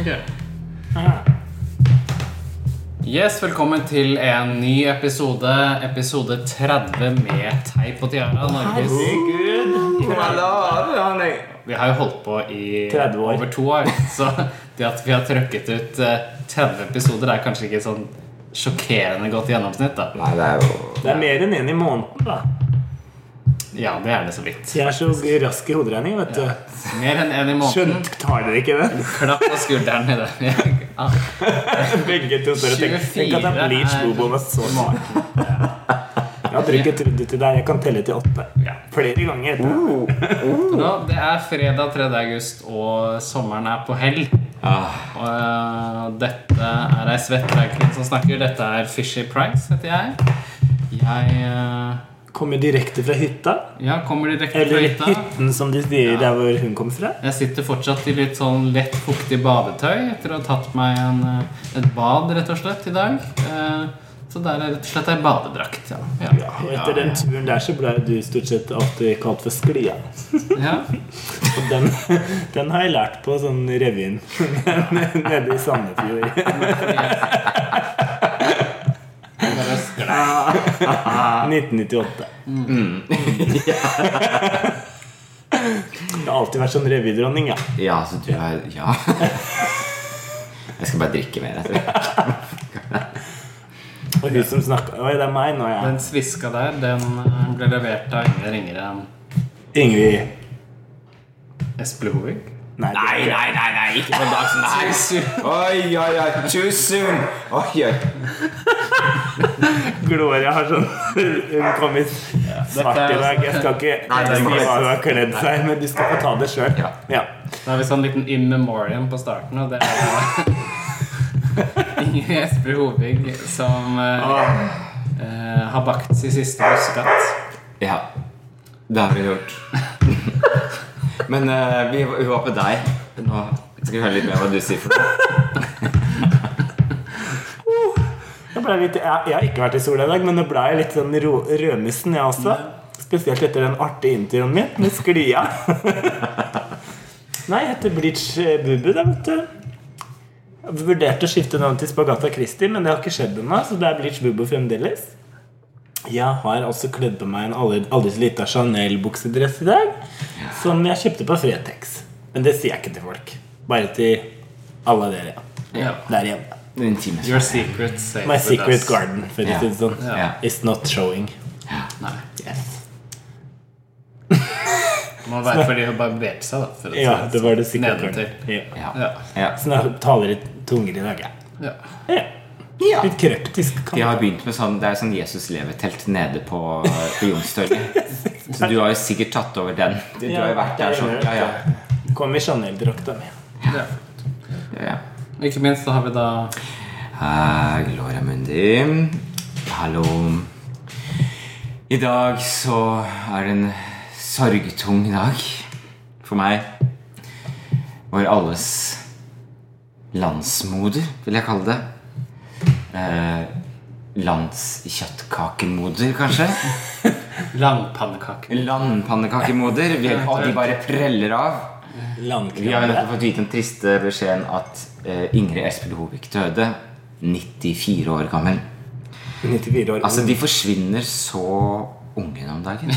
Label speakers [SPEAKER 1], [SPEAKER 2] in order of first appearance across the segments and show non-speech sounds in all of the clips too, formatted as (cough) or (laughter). [SPEAKER 1] Okay.
[SPEAKER 2] Yes, velkommen til en ny episode, episode 30 med Teip og Tiara. Norges. Vi har jo holdt på i
[SPEAKER 3] 30 år.
[SPEAKER 2] over to år, så det at vi har trøkket ut eh, 30 episoder, er kanskje ikke sånn sjokkerende godt gjennomsnitt. da
[SPEAKER 4] Nei, det er jo
[SPEAKER 3] Det er mer enn én i måneden, da.
[SPEAKER 2] Ja, det er det så vidt.
[SPEAKER 3] Jeg er så rask i hoderegning, vet du.
[SPEAKER 2] Mer enn én i måneden.
[SPEAKER 3] Skjønt tar dere ikke det?
[SPEAKER 2] Klapp på skulderen i det. Ja.
[SPEAKER 3] (laughs) Begge to står og tenker Tenk at
[SPEAKER 2] 24
[SPEAKER 3] det blir slobonus så smart. Jeg hadde ikke trodd det til deg. Jeg kan telle til åtte. Flere ganger. etter det.
[SPEAKER 2] Nå, det er fredag 3. august, og sommeren er på hell. Og øh, dette er ei svettreikling som snakker. Dette er Fishy Price, heter jeg. Jeg øh,
[SPEAKER 3] Kommer direkte fra hytta.
[SPEAKER 2] ja, kommer direkte fra
[SPEAKER 3] Eller
[SPEAKER 2] hytta.
[SPEAKER 3] hytten, som de sier der hvor hun kom fra.
[SPEAKER 2] Jeg sitter fortsatt i litt sånn lett fuktig badetøy etter å ha tatt meg en, øh, et bad rett og slett i dag. Eh, Så der er rett og slett ei badedrakt. Ja. Ja.
[SPEAKER 3] Og etter den turen der så ble du stort sett alltid kalt for Sklia.
[SPEAKER 2] Ja.
[SPEAKER 3] Og den, (laughs) den har jeg lært på sånn revyen (laughs) nede i
[SPEAKER 4] (laughs)
[SPEAKER 3] Sandefjord.
[SPEAKER 2] Bare sklei.
[SPEAKER 3] 1998.
[SPEAKER 4] Mm.
[SPEAKER 3] (laughs) Jeg har alltid vært sånn revydronning, ja.
[SPEAKER 4] Ja, så du er Ja. (laughs) Jeg skal bare drikke mer. Jeg tror.
[SPEAKER 3] Og hun som snakka Oi, det er meg nå, ja.
[SPEAKER 2] Den sviska der, den øh, ble levert av ingen ringere enn
[SPEAKER 3] Ingrid.
[SPEAKER 2] Espen Hovig.
[SPEAKER 3] Nei, det-
[SPEAKER 4] Nei, nei, nei, nei, ikke på en dag som dette. Oi, oi, oi. Too soon. Oi, oi.
[SPEAKER 3] Gloria har sånn (laughs) Hun kom i svart i dag. Jeg skal ikke
[SPEAKER 4] Nei, det er
[SPEAKER 3] si hva hun har
[SPEAKER 4] svart.
[SPEAKER 3] kledd seg, men du skal få ta det sjøl.
[SPEAKER 4] Ja.
[SPEAKER 3] Ja.
[SPEAKER 2] Da har vi sånn liten in memoriam på starten, og det
[SPEAKER 3] (laughs)
[SPEAKER 2] er Ingrid Espelid Hovig som eh,
[SPEAKER 3] Ah.
[SPEAKER 2] eh, har bakt sin siste huskatt.
[SPEAKER 4] Ja. Det har vi gjort. (laughs) Men eh, vi, vi var på deg. Nå skal vi høre litt mer hva du sier for noe.
[SPEAKER 3] Jeg, ble litt, jeg, jeg har ikke vært i sola i dag, men nå ble jeg litt sånn ro, rødmissen, jeg også. Spesielt etter den artige introen min med sklia. (laughs) Nei, jeg heter Bleach eh, Bubu, da, vet du. Jeg vurderte å skifte navn til Spagata Christi, men det har ikke skjedd ennå, så det er Bleach Bubu fremdeles. Jeg har altså kledd på meg en aldri, aldri så lita Chanel-buksedress i dag, som jeg kjøpte på Fretex. Men det sier jeg ikke til folk. Bare til alle dere
[SPEAKER 2] Ja.
[SPEAKER 3] der hjemme.
[SPEAKER 4] Den intime
[SPEAKER 2] Your secret safe
[SPEAKER 3] My
[SPEAKER 2] with
[SPEAKER 3] secret
[SPEAKER 2] us.
[SPEAKER 3] garden, for å si det sånn.
[SPEAKER 4] Ja.
[SPEAKER 3] It's not showing.
[SPEAKER 2] Nei,
[SPEAKER 3] Yes.
[SPEAKER 2] det må være fordi hun barberte seg, da. For å si
[SPEAKER 3] Ja, det var det secret garden.
[SPEAKER 2] Nedentil.
[SPEAKER 3] Ja.
[SPEAKER 4] Ja.
[SPEAKER 2] Ja.
[SPEAKER 4] ja.
[SPEAKER 3] Så nå taler litt tungere i dag, jeg.
[SPEAKER 2] Ja.
[SPEAKER 3] Ja.
[SPEAKER 4] Ja.
[SPEAKER 3] Litt kryptisk.
[SPEAKER 4] De
[SPEAKER 3] Kan
[SPEAKER 4] har begynt med sånn Det er sånn Jesus lever-telt nede på, på (laughs) Youngstorget. Så du har jo sikkert tatt over den. Du, du har jo vært der sånn. Ja, ja.
[SPEAKER 3] Kom i Chanel-drakta mi.
[SPEAKER 2] ja.
[SPEAKER 4] ja, ja.
[SPEAKER 2] Ikke minst så har vi da
[SPEAKER 4] Hei, Gloria Mundi. Hallo. I dag så er det en sorgtung dag for meg. Vår alles landsmoder, vil jeg kalle det. Eh, Landskjøttkakemoder, kanskje?
[SPEAKER 2] langpannekaker.
[SPEAKER 4] Landpannekakemoder. Vi, og de bare preller av. Vi har jo
[SPEAKER 3] Landkrabbe.
[SPEAKER 4] nettopp fått vite den triste beskjeden at eh, Ingrid Espelid Hovig døde 94 år gammel.
[SPEAKER 3] 94 år.
[SPEAKER 4] Altså, de forsvinner så unge om
[SPEAKER 3] (laughs)
[SPEAKER 4] dagen.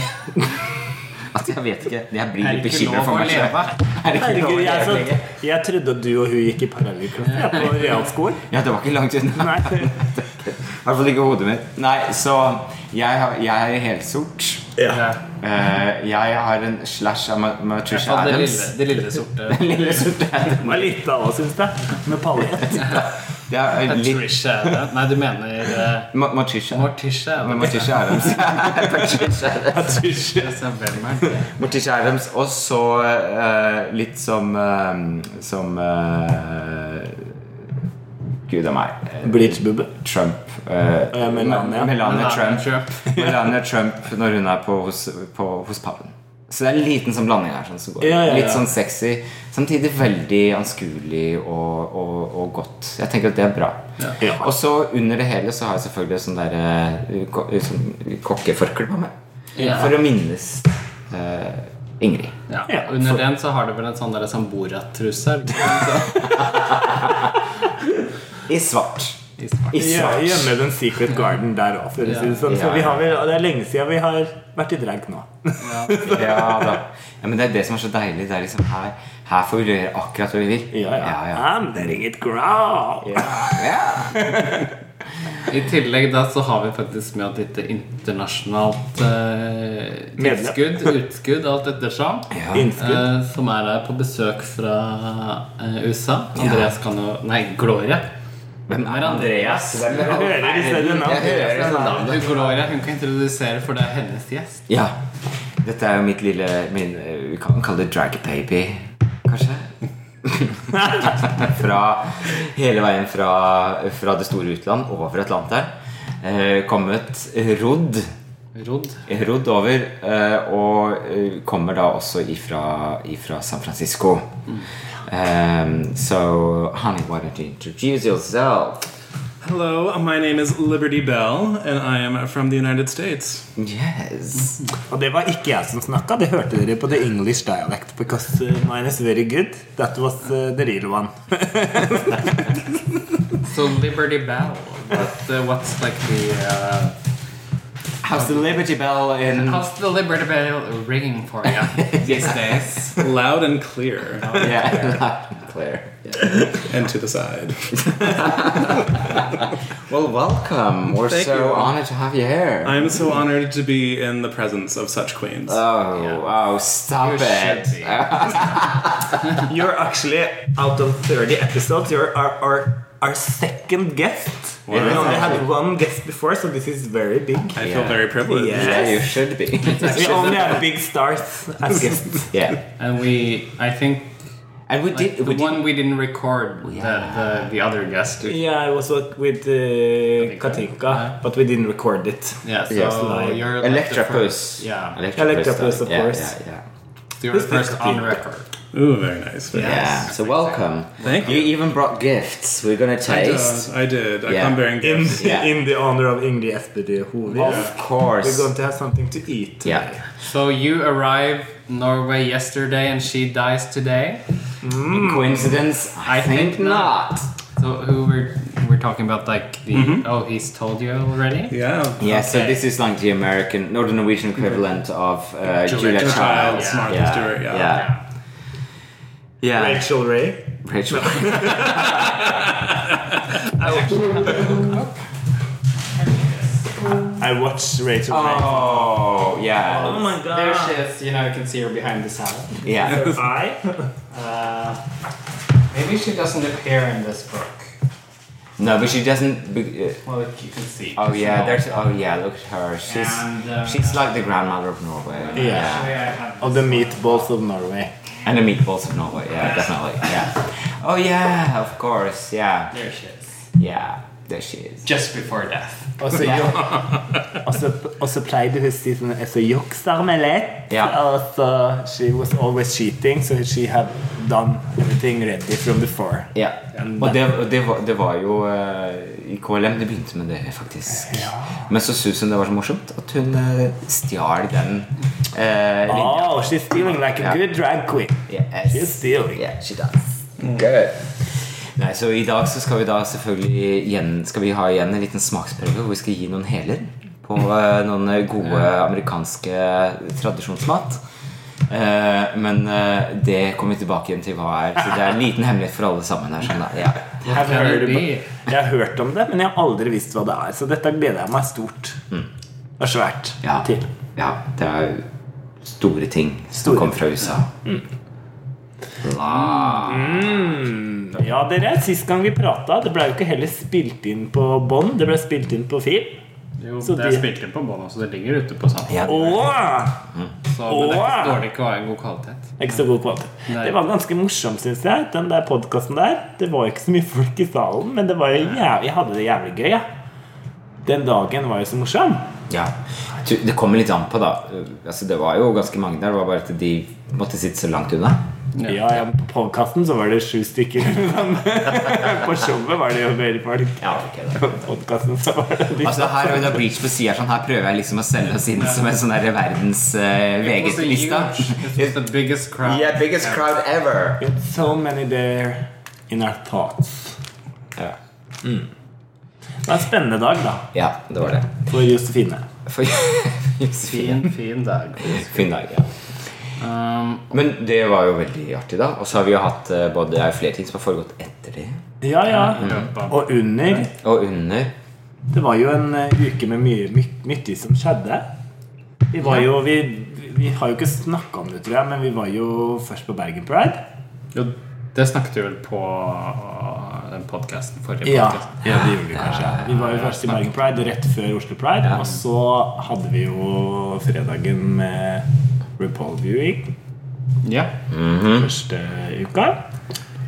[SPEAKER 4] altså, jeg vet ikke. Jeg blir litt bekymra for meg selv. Er det ikke
[SPEAKER 3] Herregud,
[SPEAKER 4] lov å
[SPEAKER 3] jeg,
[SPEAKER 4] leve
[SPEAKER 3] så,
[SPEAKER 4] lenger?
[SPEAKER 3] jeg trodde at du og hun gikk i parallellklasse ja, på realskolen.
[SPEAKER 4] Ja, det var ikke langt unna.
[SPEAKER 3] Nei.
[SPEAKER 4] I hvert fall ikke hodet mitt. Nei, så jeg, har, jeg er helt sort.
[SPEAKER 2] Ja.
[SPEAKER 4] Eh, jeg har en slash av Ma- Matricia
[SPEAKER 2] Og det
[SPEAKER 4] Adams.
[SPEAKER 2] lille, det lille
[SPEAKER 3] (laughs)
[SPEAKER 2] sorte
[SPEAKER 4] (laughs) Lille sorte Adams.
[SPEAKER 3] Det var lite av oss, syns jeg. Med paljett.
[SPEAKER 4] Det er litt
[SPEAKER 2] Patricia Adams. Nei, du mener eh,
[SPEAKER 4] Ma- Matricia.
[SPEAKER 2] Morticia. Adams.
[SPEAKER 4] Matricia
[SPEAKER 3] (laughs)
[SPEAKER 4] Adams. Patricia Adams.
[SPEAKER 2] Hvem er det?
[SPEAKER 4] Morticia Adams, og så eh, litt som eh, Som eh, Gud a meg. eh,
[SPEAKER 3] Bleach-bubbe.
[SPEAKER 4] Trump. eh,
[SPEAKER 3] Eh, Melania.
[SPEAKER 4] Melania Trump.
[SPEAKER 2] Trump.
[SPEAKER 4] (laughs) Melania Trump når hun er på, hos, på, hos paven. Så det er en liten sånn blanding her. Sånn, som går.
[SPEAKER 3] Ja, ja, ja.
[SPEAKER 4] Litt sånn sexy, samtidig veldig anskuelig og, og, og godt. Jeg tenker at det er bra.
[SPEAKER 3] Ja.
[SPEAKER 4] Og så under det hele så har jeg selvfølgelig sånn der eh, ko- sånn kokkeforkle på meg.
[SPEAKER 2] Ja.
[SPEAKER 4] For å minnes eh,
[SPEAKER 1] Ingrid.
[SPEAKER 2] Ja.
[SPEAKER 3] Ja,
[SPEAKER 2] og Under
[SPEAKER 3] for-
[SPEAKER 2] den så har du vel en sånn der Samborat-trussel.
[SPEAKER 1] I svart.
[SPEAKER 2] I svart.
[SPEAKER 1] I
[SPEAKER 3] Ja,
[SPEAKER 1] svart.
[SPEAKER 3] gjemme den Secret Garden der òg, for å si det sånn. Så
[SPEAKER 1] Ja.
[SPEAKER 3] vi har vel, og det er lenge siden vi har vært i drag nå.
[SPEAKER 1] Ja da.
[SPEAKER 4] Ja, men det er det som er så deilig. Det er liksom her, her får vi gjøre akkurat hva vi vil.
[SPEAKER 3] Ja, ja.
[SPEAKER 4] Ja, ja.
[SPEAKER 3] I'm letting it grow.
[SPEAKER 2] (laughs) I tillegg da så har vi faktisk med at dette internasjonalt eh,
[SPEAKER 3] Medlem.
[SPEAKER 2] tilskudd, utskudd, alt ettersom,
[SPEAKER 4] Ja.
[SPEAKER 3] Innskudd.
[SPEAKER 2] eh, som er her på besøk fra eh, USA. Andreas kan jo Nei, Gloria.
[SPEAKER 4] Hvem er Andreas?
[SPEAKER 1] Hvem er
[SPEAKER 3] Jeg
[SPEAKER 1] han?
[SPEAKER 3] hører i stedet nå.
[SPEAKER 4] Jeg hører
[SPEAKER 2] Fra
[SPEAKER 4] sånn navn.
[SPEAKER 2] navnet Gloria. Hun kan introdusere, for det er hennes gjest.
[SPEAKER 4] Ja. Dette er jo mitt lille min, eh, Vi kan kalle det drag baby,
[SPEAKER 3] (laughs)
[SPEAKER 4] kanskje? fra Hele veien fra, fra det store utland over Atlanteren. Eh, kommet rodd
[SPEAKER 2] Rodd.
[SPEAKER 4] rodd over, eh, og eh, kommer da også ifra, ifra San Francisco.
[SPEAKER 3] Mm.
[SPEAKER 4] Um, so, honey, why don't you introduce yourself?
[SPEAKER 3] Eh,
[SPEAKER 5] Hello, my name is Liberty Bell, and I am from the United States.
[SPEAKER 4] Yes.
[SPEAKER 3] Og det var ikke jeg som snakka, det hørte dere på the English dialect. Because uh, mine is very good. That was uh, the real one.
[SPEAKER 2] So Liberty Bell. But uh, what's like the uh,
[SPEAKER 4] How's the Liberty Bell
[SPEAKER 2] (laughs)
[SPEAKER 4] in
[SPEAKER 2] How's the Liberty Bell ringing for you these days?
[SPEAKER 5] Loud and clear,
[SPEAKER 4] Yeah, (laughs) Claire.
[SPEAKER 5] and to the side.
[SPEAKER 4] Well, welcome. Um, We're
[SPEAKER 5] Thank
[SPEAKER 4] so
[SPEAKER 5] you.
[SPEAKER 4] honored to have you here.
[SPEAKER 5] I am so honored to be in the presence of such queens.
[SPEAKER 4] oh,
[SPEAKER 2] Yeah.
[SPEAKER 4] oh, stop
[SPEAKER 2] You
[SPEAKER 4] it.
[SPEAKER 2] should be.
[SPEAKER 3] You're actually out of 30 episodes. You're our, our, our second guest. We
[SPEAKER 4] Wow.
[SPEAKER 3] only had one guest before, so this is very big.
[SPEAKER 5] I
[SPEAKER 4] yeah.
[SPEAKER 5] feel very privileged.
[SPEAKER 3] Yeah.
[SPEAKER 4] Yeah, you should be.
[SPEAKER 3] We only have big stars as guests.
[SPEAKER 4] (laughs) yeah.
[SPEAKER 2] And we, I think,
[SPEAKER 4] And we
[SPEAKER 2] like,
[SPEAKER 4] did. Oh,
[SPEAKER 2] the
[SPEAKER 4] we
[SPEAKER 2] one
[SPEAKER 4] did
[SPEAKER 2] we didn't record, the, the the other guest. Yeah,
[SPEAKER 3] (laughs) Yeah, I was like, with uh, Katinka,
[SPEAKER 2] Yeah.
[SPEAKER 3] but we didn't record it.
[SPEAKER 2] so
[SPEAKER 4] Yes,
[SPEAKER 3] like
[SPEAKER 2] you're like the
[SPEAKER 4] Electra
[SPEAKER 2] first,
[SPEAKER 4] Puss.
[SPEAKER 2] yeah,
[SPEAKER 3] Electra
[SPEAKER 4] Puss,
[SPEAKER 3] Puss, of
[SPEAKER 4] yeah,
[SPEAKER 3] course.
[SPEAKER 4] Yeah, yeah.
[SPEAKER 2] you're the
[SPEAKER 3] Who's this
[SPEAKER 2] first on
[SPEAKER 3] Katinka?
[SPEAKER 2] record.
[SPEAKER 5] Ooh, very nice. Very
[SPEAKER 4] Yeah.
[SPEAKER 5] nice.
[SPEAKER 4] So welcome.
[SPEAKER 5] Thank
[SPEAKER 4] You even brought gifts. We're gonna
[SPEAKER 5] I did.
[SPEAKER 4] taste.
[SPEAKER 5] I did. I
[SPEAKER 4] Yeah.
[SPEAKER 5] come bearing
[SPEAKER 3] In,
[SPEAKER 5] gifts.
[SPEAKER 4] Yeah.
[SPEAKER 3] in the honor of Ingrid Espedy, who we
[SPEAKER 4] Of
[SPEAKER 3] We're
[SPEAKER 4] course.
[SPEAKER 3] going to have something to eat. today.
[SPEAKER 4] Yeah.
[SPEAKER 2] So you arrived Norway yesterday, and she dies today. Hmm.
[SPEAKER 4] Coincidence? I, think, not.
[SPEAKER 2] So who we're we're talking about? Like the
[SPEAKER 4] Mm-hmm.
[SPEAKER 2] oh, he's told you already.
[SPEAKER 5] Yeah.
[SPEAKER 4] Yeah. So
[SPEAKER 2] Okay.
[SPEAKER 4] this is like the American, not the Norwegian equivalent of uh, Julia,
[SPEAKER 2] Julia
[SPEAKER 4] Child.
[SPEAKER 5] Child,
[SPEAKER 2] Yeah.
[SPEAKER 5] Martha
[SPEAKER 4] Yeah.
[SPEAKER 5] Stewart. Yeah.
[SPEAKER 4] Yeah.
[SPEAKER 2] Yeah.
[SPEAKER 4] Yeah.
[SPEAKER 3] Rachel Ray.
[SPEAKER 4] Rachel.
[SPEAKER 3] I watched Rachel Ray.
[SPEAKER 4] (laughs) oh yeah.
[SPEAKER 3] Oh my god.
[SPEAKER 2] There she is. You know, you can see her behind the salad.
[SPEAKER 4] Yeah.
[SPEAKER 3] Her (laughs) eye.
[SPEAKER 2] Uh, maybe she doesn't appear in this book.
[SPEAKER 4] No, but she doesn't. Be, uh,
[SPEAKER 2] Well, if you can see.
[SPEAKER 4] oh yeah.
[SPEAKER 2] No.
[SPEAKER 4] There's. Oh yeah. Look at her. She's.
[SPEAKER 2] And, uh,
[SPEAKER 4] she's Oh, like the grandmother of Norway.
[SPEAKER 3] Yeah.
[SPEAKER 2] Actually, I have
[SPEAKER 3] Of the meatballs of Norway.
[SPEAKER 4] And the meatballs of Norway. Yeah, definitely. Yeah. Oh yeah. Of course. Yeah.
[SPEAKER 2] There she is.
[SPEAKER 4] Yeah. There she is.
[SPEAKER 2] Just before death.
[SPEAKER 3] Og så og så- og så pleide hun å si sånn Så jukser meg litt.
[SPEAKER 4] Ja.
[SPEAKER 3] Og så She was always cheating, so she had done everything ready from before.
[SPEAKER 4] Ja. Og det, og det, var, det var jo eh, i KLM det begynte med det, faktisk. Men så syntes hun det var så morsomt at hun eh, stjal den eh, linja.
[SPEAKER 3] Oh, she's stealing like a
[SPEAKER 4] Ja.
[SPEAKER 3] good drag queen.
[SPEAKER 4] Yes.
[SPEAKER 3] She's stealing.
[SPEAKER 4] Yeah, she does. Good. Nei, så I dag så skal vi da selvfølgelig igjen, skal vi ha igjen en liten smaksprøve hvor vi skal gi noen heler på eh, noen gode amerikanske tradisjonsmat. Eh, men eh, det kommer vi tilbake igjen til hva er. Så det er en liten hemmelighet for alle sammen her. Sånn, da. ja.
[SPEAKER 2] What
[SPEAKER 3] Have heard
[SPEAKER 2] can it
[SPEAKER 3] about-
[SPEAKER 2] be?
[SPEAKER 3] Jeg har hørt om det, men jeg har aldri visst hva det er. Så dette gleder jeg meg stort og svært
[SPEAKER 4] Ja.
[SPEAKER 3] til.
[SPEAKER 4] ja, det er jo store ting som
[SPEAKER 3] Store.
[SPEAKER 4] kommer fra USA. La.
[SPEAKER 3] Mm. Ja, dere, sist gang vi prata, det ble jo ikke heller spilt inn på bånd, det ble spilt inn på film.
[SPEAKER 2] (laughs) Jo,
[SPEAKER 3] Så
[SPEAKER 2] det er
[SPEAKER 3] de-
[SPEAKER 2] spilt inn på bånd, så det ligger ute på sanden.
[SPEAKER 4] Ja, det-
[SPEAKER 3] Åh!
[SPEAKER 2] Så, men det er ikke
[SPEAKER 3] Åh!
[SPEAKER 2] dårlig ikke å ha en god kvalitet.
[SPEAKER 3] Ikke så god kvalitet.
[SPEAKER 2] Nei.
[SPEAKER 3] Det var ganske morsomt, syns jeg. Den der podkasten der. Det var jo ikke så mye folk i salen, men det var jo jævlig, jeg hadde det jævlig gøy. Ja. Den dagen var jo så morsom.
[SPEAKER 4] ja. tu- Det kommer litt an på, da. Eh, Altså, det var jo ganske mange der. Det var bare at de måtte sitte så langt unna.
[SPEAKER 3] Ja, ja, på podkasten så var det sju stykker. (laughs) Men på showet var det jo mer folk.
[SPEAKER 4] Ja, ok da
[SPEAKER 3] På podcasten så var det litt
[SPEAKER 4] Altså her, da Breach på siden er sånn, her prøver jeg liksom å selge oss inn som en sånn der verdens eh,
[SPEAKER 2] It was a
[SPEAKER 4] VG-lista.
[SPEAKER 2] huge- It was the biggest crowd.
[SPEAKER 4] Yeah, biggest crowd ever.
[SPEAKER 3] So many there in our thoughts.
[SPEAKER 4] Ja.
[SPEAKER 3] Det var en spennende dag, da.
[SPEAKER 4] ja, det var det.
[SPEAKER 3] For Josefine.
[SPEAKER 4] For (laughs) Josefine.
[SPEAKER 2] Fin, fin dag.
[SPEAKER 4] Fin dag, ja.
[SPEAKER 2] Um,
[SPEAKER 4] Men det var jo veldig artig, da. Og så har vi jo hatt eh, både det er jo flere ting som har foregått etter det,
[SPEAKER 3] Ja, ja.
[SPEAKER 2] løpet.
[SPEAKER 3] Og under.
[SPEAKER 4] og under.
[SPEAKER 3] Det var jo en eh, uke med mye my- mye som skjedde. Vi var jo Vi, vi har jo ikke snakka om det, tror jeg, men vi var jo først på Bergen Pride.
[SPEAKER 2] Jo, det snakket du vel på uh, den podkasten forrige
[SPEAKER 3] Ja,
[SPEAKER 2] podcasten.
[SPEAKER 3] ja, det gjorde vi kanskje. Vi var jo først i Bergen Pride rett før Oslo Pride. Og så hadde vi jo fredagen med RuPaul Viewing
[SPEAKER 2] Ja.
[SPEAKER 3] første uka.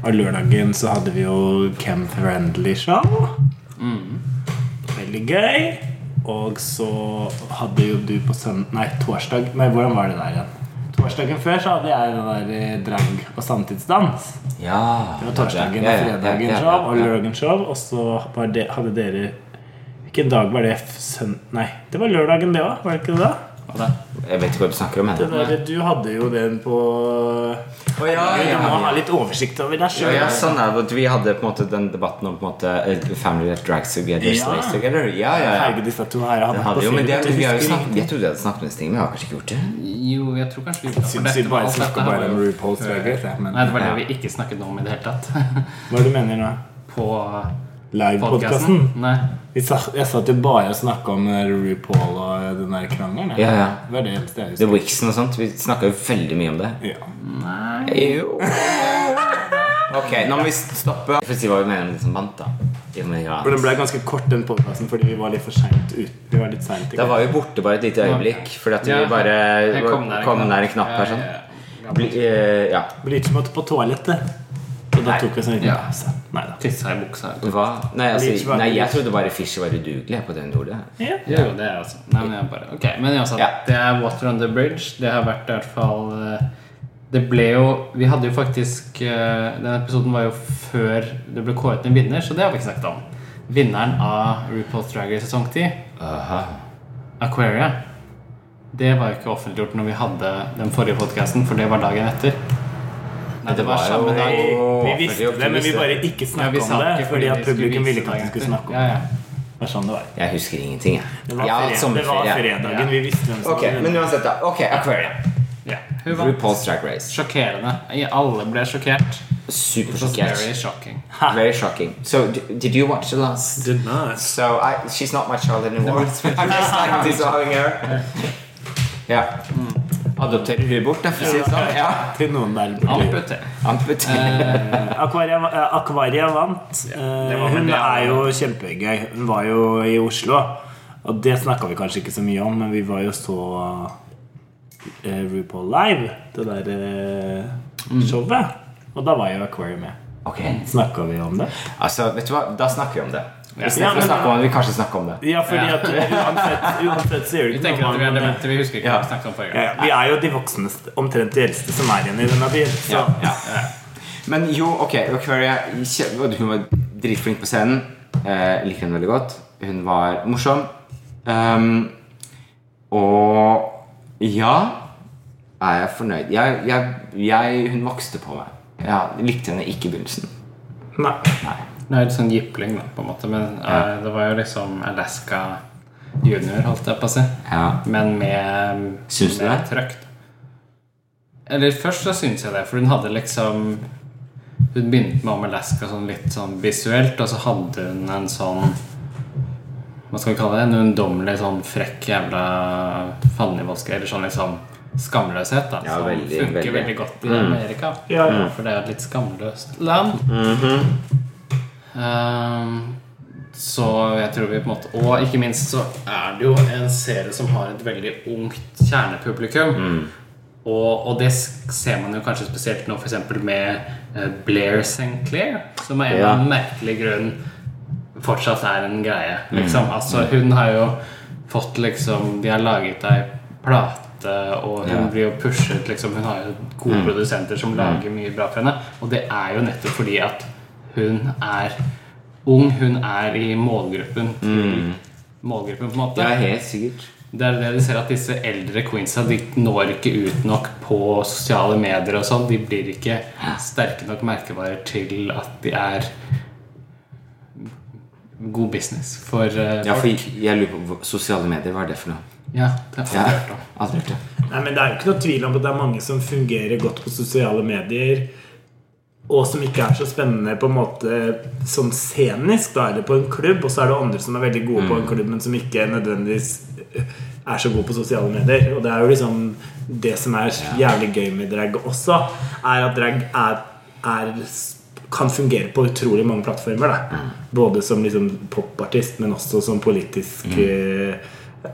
[SPEAKER 3] Og lørdagen så hadde vi jo Cam Friendly Show.
[SPEAKER 4] Mm.
[SPEAKER 3] Veldig gøy. Og så hadde jo du på søndag Nei, torsdag. Nei, hvordan var det der igjen? Torsdagen før så hadde jeg den der eh, drag- og samtidsdans.
[SPEAKER 4] Ja.
[SPEAKER 3] Det var torsdagen
[SPEAKER 4] Ja,
[SPEAKER 3] og
[SPEAKER 4] ja, ja,
[SPEAKER 3] fredagen
[SPEAKER 4] ja, ja,
[SPEAKER 3] show og
[SPEAKER 4] ja.
[SPEAKER 3] lørdagen show. Og så var det, hadde dere Hvilken dag var det? Søn... Nei, det var lørdagen, det òg. Var det ikke det? da?
[SPEAKER 2] Og det.
[SPEAKER 4] Jeg vet ikke hva du snakker om.
[SPEAKER 3] Det
[SPEAKER 4] Jeg.
[SPEAKER 3] der, du hadde jo den på
[SPEAKER 4] Å, ja,
[SPEAKER 3] Du
[SPEAKER 4] ja,
[SPEAKER 3] må
[SPEAKER 4] ja.
[SPEAKER 3] ha litt oversikt over deg
[SPEAKER 4] Ja,
[SPEAKER 3] sjøl.
[SPEAKER 4] ja, sånn er det. Vi hadde på en måte den debatten om på en måte eh, Family that drags together,
[SPEAKER 3] Ja.
[SPEAKER 4] slays together. Ja, ja, ja.
[SPEAKER 3] Herregud, disse to her
[SPEAKER 4] Den
[SPEAKER 3] hadde
[SPEAKER 4] hadde jo, men det,
[SPEAKER 3] ferie,
[SPEAKER 4] vi har jo
[SPEAKER 3] husker
[SPEAKER 4] snakket,
[SPEAKER 3] ingenting.
[SPEAKER 4] jeg trodde jeg hadde snakket om disse tingene, men jeg har kanskje ikke gjort det.
[SPEAKER 2] Jo, jeg tror kanskje vi
[SPEAKER 3] Syns vi bare snakker bare om RuPaul's Drag Race, jeg, men-
[SPEAKER 2] Nei, det var det vi ikke snakket om i det hele tatt. (laughs)
[SPEAKER 3] Hva er det du mener nå?
[SPEAKER 2] På
[SPEAKER 3] Live-podkasten?
[SPEAKER 2] podkasten. Nei.
[SPEAKER 3] Vi sa- Jeg satt jo bare og snakka om eh, RuPaul og den der krangelen. jeg.
[SPEAKER 4] Ja, ja.
[SPEAKER 3] Det var det eneste jeg
[SPEAKER 4] The
[SPEAKER 3] husker.
[SPEAKER 4] Wixen og sånt, vi snakket jo veldig mye om det.
[SPEAKER 3] Ja.
[SPEAKER 4] Jo. Ok, nå må vi stoppe. For å si hva vi mener om de som vant, da. Ja, men ja.
[SPEAKER 3] For den ble ganske kort, den podkasten, fordi vi var litt for seint ute. Vi var litt sent i
[SPEAKER 4] Da
[SPEAKER 3] gang.
[SPEAKER 4] var vi borte bare et lite øyeblikk, fordi at vi
[SPEAKER 2] Ja.
[SPEAKER 4] bare
[SPEAKER 2] Jeg kom nær en
[SPEAKER 4] kom
[SPEAKER 2] knapp.
[SPEAKER 4] nær en knapp her sånn.
[SPEAKER 2] Ja,
[SPEAKER 4] Bli- eh, Ja.
[SPEAKER 3] Bleach måtte på toalettet. Så da tok vi sånn liten
[SPEAKER 2] Ja.
[SPEAKER 3] pause. Nei da.
[SPEAKER 2] Tissa i buksa.
[SPEAKER 4] Hva? Nei,
[SPEAKER 3] Bleach
[SPEAKER 4] altså,
[SPEAKER 3] var-
[SPEAKER 4] nei, jeg trodde bare Fischer var udugelig jeg, på den ordet.
[SPEAKER 2] Jo, jo, det er jeg også. Nei, men jeg bare Ok, men jeg også,
[SPEAKER 4] Ja.
[SPEAKER 2] det er Water on the Bridge. Det har vært i hvert fall eh, Det ble jo Vi hadde jo faktisk eh, Den episoden var jo før det ble kåret en vinner, så det har vi ikke snakket om. Vinneren av RuPaul's Drag Race sesong 10, Aquaria, det var jo ikke offentliggjort når vi hadde den forrige podkasten, for det var dagen etter. Nei, det var
[SPEAKER 4] var
[SPEAKER 2] samme
[SPEAKER 4] jo-
[SPEAKER 2] dag.
[SPEAKER 3] Vi
[SPEAKER 4] Åh, fordi
[SPEAKER 3] visste
[SPEAKER 4] vi
[SPEAKER 3] det, men vi
[SPEAKER 4] visste
[SPEAKER 3] bare
[SPEAKER 2] Ja, vi
[SPEAKER 3] ikke snakka
[SPEAKER 2] sa
[SPEAKER 3] om det.
[SPEAKER 2] ikke
[SPEAKER 3] Fordi at
[SPEAKER 2] vi skulle
[SPEAKER 3] publikum
[SPEAKER 2] vise
[SPEAKER 3] ville ikke at vi
[SPEAKER 2] dagen
[SPEAKER 3] skulle
[SPEAKER 2] etter.
[SPEAKER 3] snakke om
[SPEAKER 2] ja,
[SPEAKER 3] det.
[SPEAKER 2] ja.
[SPEAKER 3] Det var sånn det var.
[SPEAKER 4] Jeg husker ingenting, jeg.
[SPEAKER 3] Det
[SPEAKER 4] Jeg
[SPEAKER 3] var,
[SPEAKER 4] har hatt
[SPEAKER 3] fred det var
[SPEAKER 4] sommerferie.
[SPEAKER 3] fredagen.
[SPEAKER 2] Ja.
[SPEAKER 3] Vi visste hvem som
[SPEAKER 4] Ok, men uansett, da. Ok, Aquaria.
[SPEAKER 2] Ja. Hun var
[SPEAKER 4] RuPaul's Drag Race.
[SPEAKER 2] sjokkerende. Alle ble sjokkert. It was
[SPEAKER 4] Supersjokkert.
[SPEAKER 2] very shocking.
[SPEAKER 4] Very shocking. So, d- did you watch the last?
[SPEAKER 5] Did (laughs) not.
[SPEAKER 4] So, I, she's not my child anymore. (laughs) I'm just like disowning her. (laughs) Ja. Mm. Adopterer hun bort, da, for å si det sånn? Ja.
[SPEAKER 3] Til noen der borte.
[SPEAKER 2] Amputert.
[SPEAKER 4] Amputerer.
[SPEAKER 3] Akvaria, eh, Akvaria vant.
[SPEAKER 2] det
[SPEAKER 3] Eh,
[SPEAKER 2] var vel
[SPEAKER 3] Hun
[SPEAKER 2] det
[SPEAKER 3] er
[SPEAKER 2] alle-
[SPEAKER 3] jo kjempegøy. Hun var jo i Oslo. Og det snakka vi kanskje ikke så mye om, men vi var jo så eh, RuPaul Live, det der eh, showet. Og da var jo Aquaria med.
[SPEAKER 4] (laughs) Ok.
[SPEAKER 3] Snakka vi om det?
[SPEAKER 4] Altså, vet du hva? Da snakker vi om det. Hvis
[SPEAKER 3] Ja,
[SPEAKER 4] vi
[SPEAKER 3] men-
[SPEAKER 4] snakker om det, vi kanskje snakker om det.
[SPEAKER 3] Ja, fordi at uansett, uansett så gjør det
[SPEAKER 2] Vi
[SPEAKER 3] ikke
[SPEAKER 2] tenker
[SPEAKER 3] noe
[SPEAKER 2] at vi er
[SPEAKER 3] om-
[SPEAKER 2] demente. Vi husker ikke
[SPEAKER 4] Ja.
[SPEAKER 2] hva vi snakket om forrige
[SPEAKER 3] Ja,
[SPEAKER 2] gang.
[SPEAKER 3] ja. Vi er jo de voksne, omtrent de eldste som er igjen i denne byen. Så.
[SPEAKER 4] Ja, ja. Eh, Men jo, ok, Aquaria kje- og Hun var dritflink på scenen. Eh, liker henne veldig godt. Hun var morsom. Ehm, og ja er jeg fornøyd. Jeg, jeg, jeg, hun vokste på meg. Jeg likte henne ikke i begynnelsen.
[SPEAKER 3] Nei.
[SPEAKER 2] Hun er litt sånn jypling, da, på en måte. Men eh, det var jo liksom Alaska junior, holdt jeg på å si.
[SPEAKER 4] Ja.
[SPEAKER 2] Men med
[SPEAKER 4] Syns du
[SPEAKER 2] med
[SPEAKER 4] det?
[SPEAKER 2] trøkk. Eller først så syns jeg det, for hun hadde liksom Hun begynte med om Alaska sånn litt sånn visuelt, og så hadde hun en sånn Hva skal vi kalle det? En ungdommelig sånn frekk jævla fandenivoldske Eller sånn liksom skamløshet, da.
[SPEAKER 4] Ja,
[SPEAKER 2] som
[SPEAKER 4] veldig,
[SPEAKER 2] funker veldig,
[SPEAKER 4] veldig. Mm.
[SPEAKER 2] godt i Amerika.
[SPEAKER 3] Ja, ja.
[SPEAKER 2] For det er et litt skamløst land. Ehm, så jeg tror vi på en måte Og ikke minst så er det jo en serie som har et veldig ungt kjernepublikum. Og, og det s- ser man jo kanskje spesielt nå f.eks. med eh, Blair St. Clair, som av en
[SPEAKER 4] Mm.
[SPEAKER 2] eller annen merkelig grunn fortsatt er en greie. Liksom. Altså, hun har jo fått liksom De har laget ei plate, og hun
[SPEAKER 4] Ja. Mm.
[SPEAKER 2] blir jo pushet liksom, Hun har jo gode produsenter som lager mye bra for henne, og det er jo nettopp fordi at hun er ung. Hun er i målgruppen til målgruppen, på en måte.
[SPEAKER 4] Mm. Ja, helt sikkert.
[SPEAKER 2] Det er det de ser at disse eldre queensa De når ikke ut nok på sosiale medier og sånn. De blir ikke sterke nok merkevarer til at de er god business for eh,
[SPEAKER 4] Ja, for
[SPEAKER 2] folk.
[SPEAKER 4] jeg lurer på hva- Sosiale medier, hva er det for noe?
[SPEAKER 2] Ja, det har jeg aldri hørt om.
[SPEAKER 4] Aldri hørt det.
[SPEAKER 3] Nei, men Det er jo ikke noe tvil om at det er mange som fungerer godt på sosiale medier, og som ikke er så spennende på en måte sånn scenisk. Da er det på en klubb, og så er det andre som er veldig gode på en klubb, men som ikke nødvendigvis eh, er så gode på sosiale medier. Og det er jo liksom det som er jævlig gøy med drag også, er at drag er, er kan fungere på utrolig mange plattformer. Da.
[SPEAKER 4] Mm.
[SPEAKER 3] Både som liksom popartist, men også som politisk
[SPEAKER 4] Mm.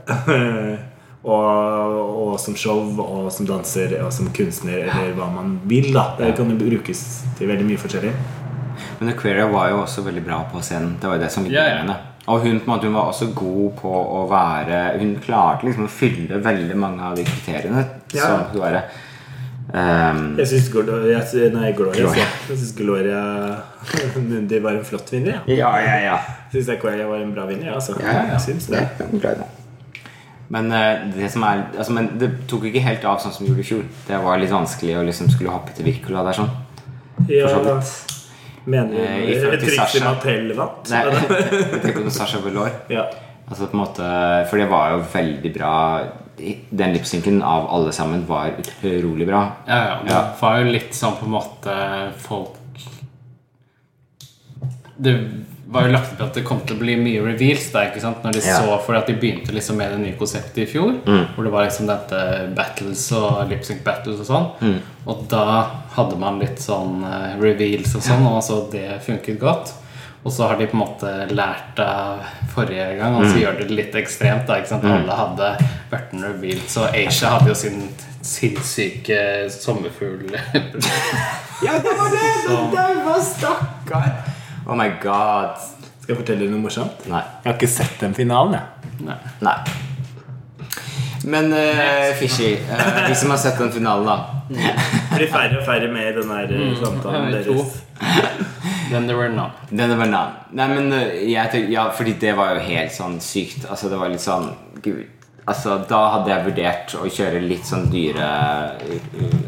[SPEAKER 3] eh, (laughs) og, og som show, og som danser, og som kunstner, eller hva man vil. da Det kan jo brukes til veldig mye forskjellig.
[SPEAKER 4] Mm. Men Aquaria var jo også veldig bra på scenen. Det var jo det som
[SPEAKER 2] Ja,
[SPEAKER 4] gjorde
[SPEAKER 2] ja.
[SPEAKER 4] henne. Og hun, på en måte, hun var også god på å være Hun klarte liksom å fylle veldig mange av de kriteriene
[SPEAKER 3] Ja.
[SPEAKER 4] som skulle være ehm,
[SPEAKER 3] Jeg syns Gloria, jeg- nei, Gloria,
[SPEAKER 4] Gloria.
[SPEAKER 3] så- Jeg synes Gloria (laughs) Mundi var en flott vinner. Ja.
[SPEAKER 4] Ja, ja, ja.
[SPEAKER 3] Jeg syns Aquaria var en bra vinner. Ja, altså.
[SPEAKER 4] ja, ja.
[SPEAKER 3] Jeg syns det.
[SPEAKER 4] Ja, hun klarte det. Men eh, det som er altså, Men det tok ikke helt av sånn som det gjorde i fjor. Det var litt vanskelig å liksom skulle hoppe til Wirkola der sånn.
[SPEAKER 3] Ja,
[SPEAKER 4] så
[SPEAKER 3] mener
[SPEAKER 4] Eh, i
[SPEAKER 3] du
[SPEAKER 4] forhold til
[SPEAKER 3] Trixie
[SPEAKER 4] Sasha.
[SPEAKER 3] Mattel vant?
[SPEAKER 4] Nei, jeg tenker på Sasha Velour.
[SPEAKER 3] Ja.
[SPEAKER 4] Altså på en måte For det var jo veldig bra Den lipsynken av alle sammen var utrolig bra.
[SPEAKER 2] Ja, ja, det
[SPEAKER 4] Ja.
[SPEAKER 2] var jo litt sånn på en måte folk Det var jo lagt opp til at det kom til å bli mye reveals der, ikke sant? Når de
[SPEAKER 4] Ja. Mm.
[SPEAKER 2] så for at de begynte liksom med det nye konseptet i fjor, hvor det var liksom dette battles og lipsync battles og sånn.
[SPEAKER 4] Mm.
[SPEAKER 2] Og da hadde man litt sånn eh, reveals og sånn, og så det funket godt. Og så har de på en måte lært av forrige gang, og
[SPEAKER 4] Mm.
[SPEAKER 2] så gjør de det litt ekstremt. da, ikke sant? Alle hadde vært en reveal, så Asia hadde jo sin sinnssyke sommerfugl. (laughs)
[SPEAKER 4] Ja, det var det! (laughs)
[SPEAKER 2] Som-
[SPEAKER 4] daua, stakkar. Oh my god.
[SPEAKER 3] Skal jeg fortelle dere noe morsomt?
[SPEAKER 4] Nei.
[SPEAKER 3] Jeg har ikke sett den finalen, jeg.
[SPEAKER 2] Nei.
[SPEAKER 4] Nei. Men uh, Fishy, eh, vi som har sett den finalen, da.
[SPEAKER 3] Det blir færre og færre med i den her
[SPEAKER 4] Mm.
[SPEAKER 3] eh, samtalen
[SPEAKER 2] jeg tror.
[SPEAKER 3] deres.
[SPEAKER 2] (laughs) Then there were none.
[SPEAKER 4] Den var nan. Nei, men eh, jeg tenker, Ja, fordi det var jo helt sånn sykt. Altså, det var litt sånn Gud. Altså, da hadde jeg vurdert å kjøre litt sånn dyre eh,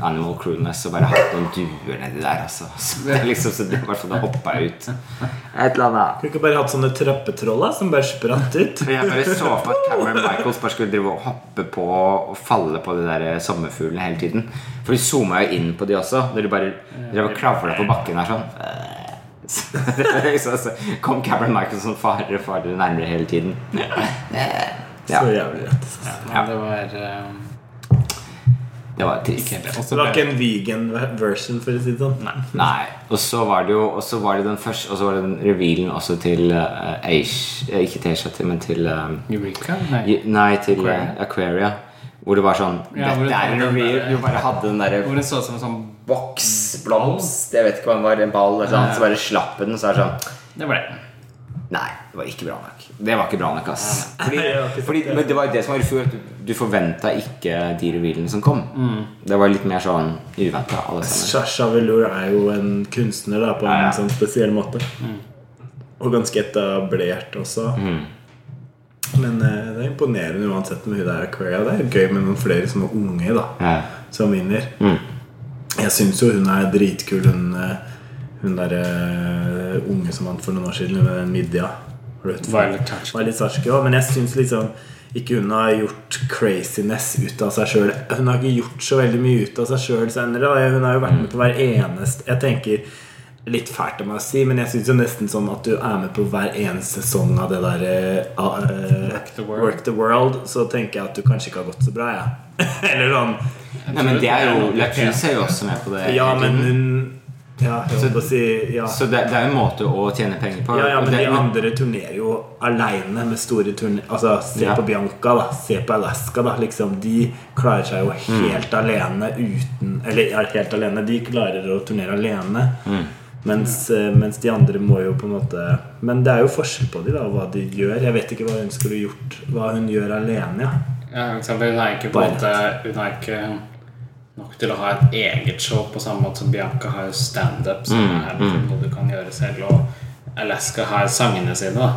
[SPEAKER 4] Animal Cruelness og bare hatt noen duer nedi der, altså. (laughs) Så det, er liksom, så det, i hvert fall, det hoppa jeg ut. Et eller annet.
[SPEAKER 3] Kunne ikke bare hatt sånne trappetroll da, som bare spratt ut?
[SPEAKER 4] Men jeg bare så for at Cameron Michaels bare skulle drive og hoppe på og falle på de der sommerfuglene hele tiden. For de zooma jo inn på de også. Når de bare drev og kravla på bakken her sånn. (laughs) Så, så, så kom Cameron Michaels som farere og farere nærmere hele tiden. Ja,
[SPEAKER 3] Så jævlig rett.
[SPEAKER 2] Men det var eh,
[SPEAKER 4] det var trist.
[SPEAKER 2] ikke helt det.
[SPEAKER 3] Det
[SPEAKER 2] Også
[SPEAKER 3] var
[SPEAKER 2] ble-
[SPEAKER 3] ikke en vegan version, for å si det sånn.
[SPEAKER 4] Nei. Og så var det jo Og så var det den første Og så var det den revealen også til uh, Aish eh, Ikke til Aisha, men til eh,
[SPEAKER 2] Eureka? Nei.
[SPEAKER 4] Ju- Nei, til eh, Aquaria. Hvor det var sånn
[SPEAKER 2] Ja, hvor det
[SPEAKER 4] Dette er en
[SPEAKER 2] var den
[SPEAKER 4] reveal.
[SPEAKER 2] der-
[SPEAKER 4] Du bare hadde den derre
[SPEAKER 2] Hvor det så ut som en sånn
[SPEAKER 4] boks, blomst Jeg vet ikke hva den var. En ball eller sånn. Så bare slapp den, og så er det sånn
[SPEAKER 2] Det ble det.
[SPEAKER 4] Nei, det var ikke bra nok. Det var ikke bra nok, ass. Fordi,
[SPEAKER 3] Jeg har ikke sett
[SPEAKER 4] fordi,
[SPEAKER 3] det.
[SPEAKER 4] men det var jo det som var i fjor. at Du, du forventa ikke de revealene som kom. Det var litt mer sånn uventa, alle sammen.
[SPEAKER 3] Sasha Velour er jo en kunstner da, på en
[SPEAKER 4] Ja, Mm. ja.
[SPEAKER 3] sånn spesiell måte. Og ganske etablert også.
[SPEAKER 4] Mm.
[SPEAKER 3] Men eh, det er imponerende uansett med hun der Aquaria. Det er jo gøy med noen flere som er unge da,
[SPEAKER 4] Ja.
[SPEAKER 3] som vinner. Jeg syns jo hun er dritkul, hun, eh, hun der eh, unge som vant for noen år siden med den midja. Rødt
[SPEAKER 2] Violet Touch.
[SPEAKER 3] var litt sarsk også, men jeg syns liksom ikke hun har gjort craziness ut av seg sjøl. Hun har ikke gjort så veldig mye ut av seg sjøl senere. da. Hun har jo vært med på hver eneste Jeg tenker litt fælt av meg å si, men jeg syns jo nesten som at du er med på hver eneste sesong av det derre
[SPEAKER 2] Work the World.
[SPEAKER 3] eh, Work the World, så tenker jeg at du kanskje ikke har gått så bra, jeg. (laughs) Eller sånn
[SPEAKER 4] Nei, men det er jo Lacruse er jo også med på det.
[SPEAKER 3] Ja,
[SPEAKER 4] hele
[SPEAKER 3] men
[SPEAKER 4] tiden.
[SPEAKER 3] hun Ja, jeg holdt på å si ja.
[SPEAKER 4] Eh, Så det, det er jo en måte å tjene penger på.
[SPEAKER 3] Ja, ja,
[SPEAKER 4] og
[SPEAKER 3] men
[SPEAKER 4] det-
[SPEAKER 3] de andre turnerer jo aleine med store turné... Altså, se
[SPEAKER 4] Ja.
[SPEAKER 3] på Bianca, da. Se på Alaska, da. Liksom, de klarer seg jo
[SPEAKER 4] Mm. Mm.
[SPEAKER 3] helt alene uten Eller ja, helt alene. De klarer å turnere alene. Mens, eh, mens de andre må jo på en måte Men det er jo forskjell på de da, og hva de gjør. Jeg vet ikke hva hun skulle gjort Hva hun gjør alene. Ja.
[SPEAKER 2] Ja, ikke sant? Hun er ikke på en måte Hun er ikke nok til å ha et eget show på samme måte som Bianca har jo standup, som er noe du kan gjøre selv, og Alaska har sangene sine. da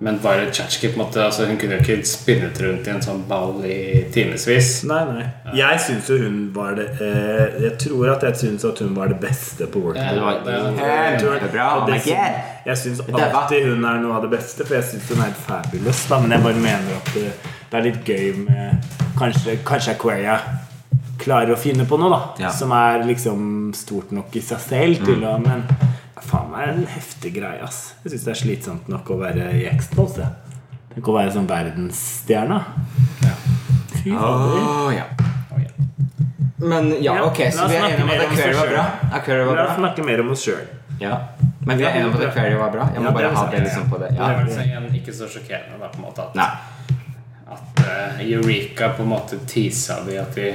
[SPEAKER 2] Men bare Chatsky på en måte altså, Hun kunne jo ikke spinnet rundt i en sånn ball i timevis.
[SPEAKER 3] Nei, nei. Jeg syns jo hun var det eh, Jeg tror at jeg syns at hun var det beste på Working
[SPEAKER 2] Ja,
[SPEAKER 3] World.
[SPEAKER 2] det-
[SPEAKER 4] Eh, Kjempebra.
[SPEAKER 3] Og det som-
[SPEAKER 4] Again.
[SPEAKER 3] Eh, Jeg syns
[SPEAKER 4] var-
[SPEAKER 3] alltid hun er noe av det beste, for jeg syns hun er helt fabulous. Da. Men jeg bare mener at det, det er litt gøy med Kanskje, kanskje Aquaria klarer å finne på noe da
[SPEAKER 4] Ja. Mm.
[SPEAKER 3] som er liksom stort nok i seg selv. Til å, men faen meg en heftig greie. ass Jeg syns det er slitsomt nok å være i Expos. jeg. Tenk å være sånn verdensstjerne. Fy fader.
[SPEAKER 4] Åh, ja. Men ja, ok,
[SPEAKER 3] la
[SPEAKER 4] så
[SPEAKER 3] oss
[SPEAKER 4] vi er
[SPEAKER 3] snakke
[SPEAKER 4] enige om
[SPEAKER 3] mer
[SPEAKER 4] at
[SPEAKER 3] om oss
[SPEAKER 4] Aquaria var
[SPEAKER 3] selv.
[SPEAKER 4] bra. Aquaria var
[SPEAKER 3] La oss
[SPEAKER 4] bra.
[SPEAKER 3] snakke mer om oss sjøl.
[SPEAKER 4] Ja. Men vi er enige om at Aquaria var bra. Jeg
[SPEAKER 3] Ja,
[SPEAKER 4] må
[SPEAKER 3] det
[SPEAKER 4] bare
[SPEAKER 3] er
[SPEAKER 4] ha
[SPEAKER 3] sant.
[SPEAKER 4] det liksom på det.
[SPEAKER 2] Det
[SPEAKER 4] Ja.
[SPEAKER 2] var liksom igjen ikke så sjokkerende da, på en måte at,
[SPEAKER 4] Nei.
[SPEAKER 2] at eh, Eureka på en måte tisa de at de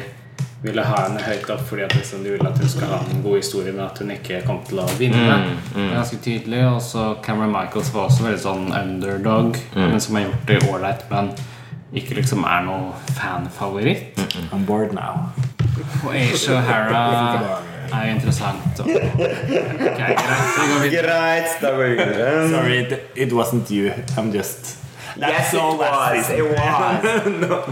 [SPEAKER 2] ville ha henne høyt opp fordi at liksom de ville at hun skulle ha en god historie, men at hun ikke kom til å vinne. Det er ganske tydelig. Og så Cameron Michaels var også veldig sånn underdog, men som har gjort det ålreit, men ikke liksom er noe fanfavoritt.
[SPEAKER 4] Mm.
[SPEAKER 3] I'm bored now.
[SPEAKER 2] Og Aisha O'Hara er jo interessant. Og, Ok, greit, vi går videre.
[SPEAKER 1] Greit, da går vi videre.
[SPEAKER 3] Sorry, it, it wasn't you. I'm just
[SPEAKER 4] Um, Yes, it was. It was.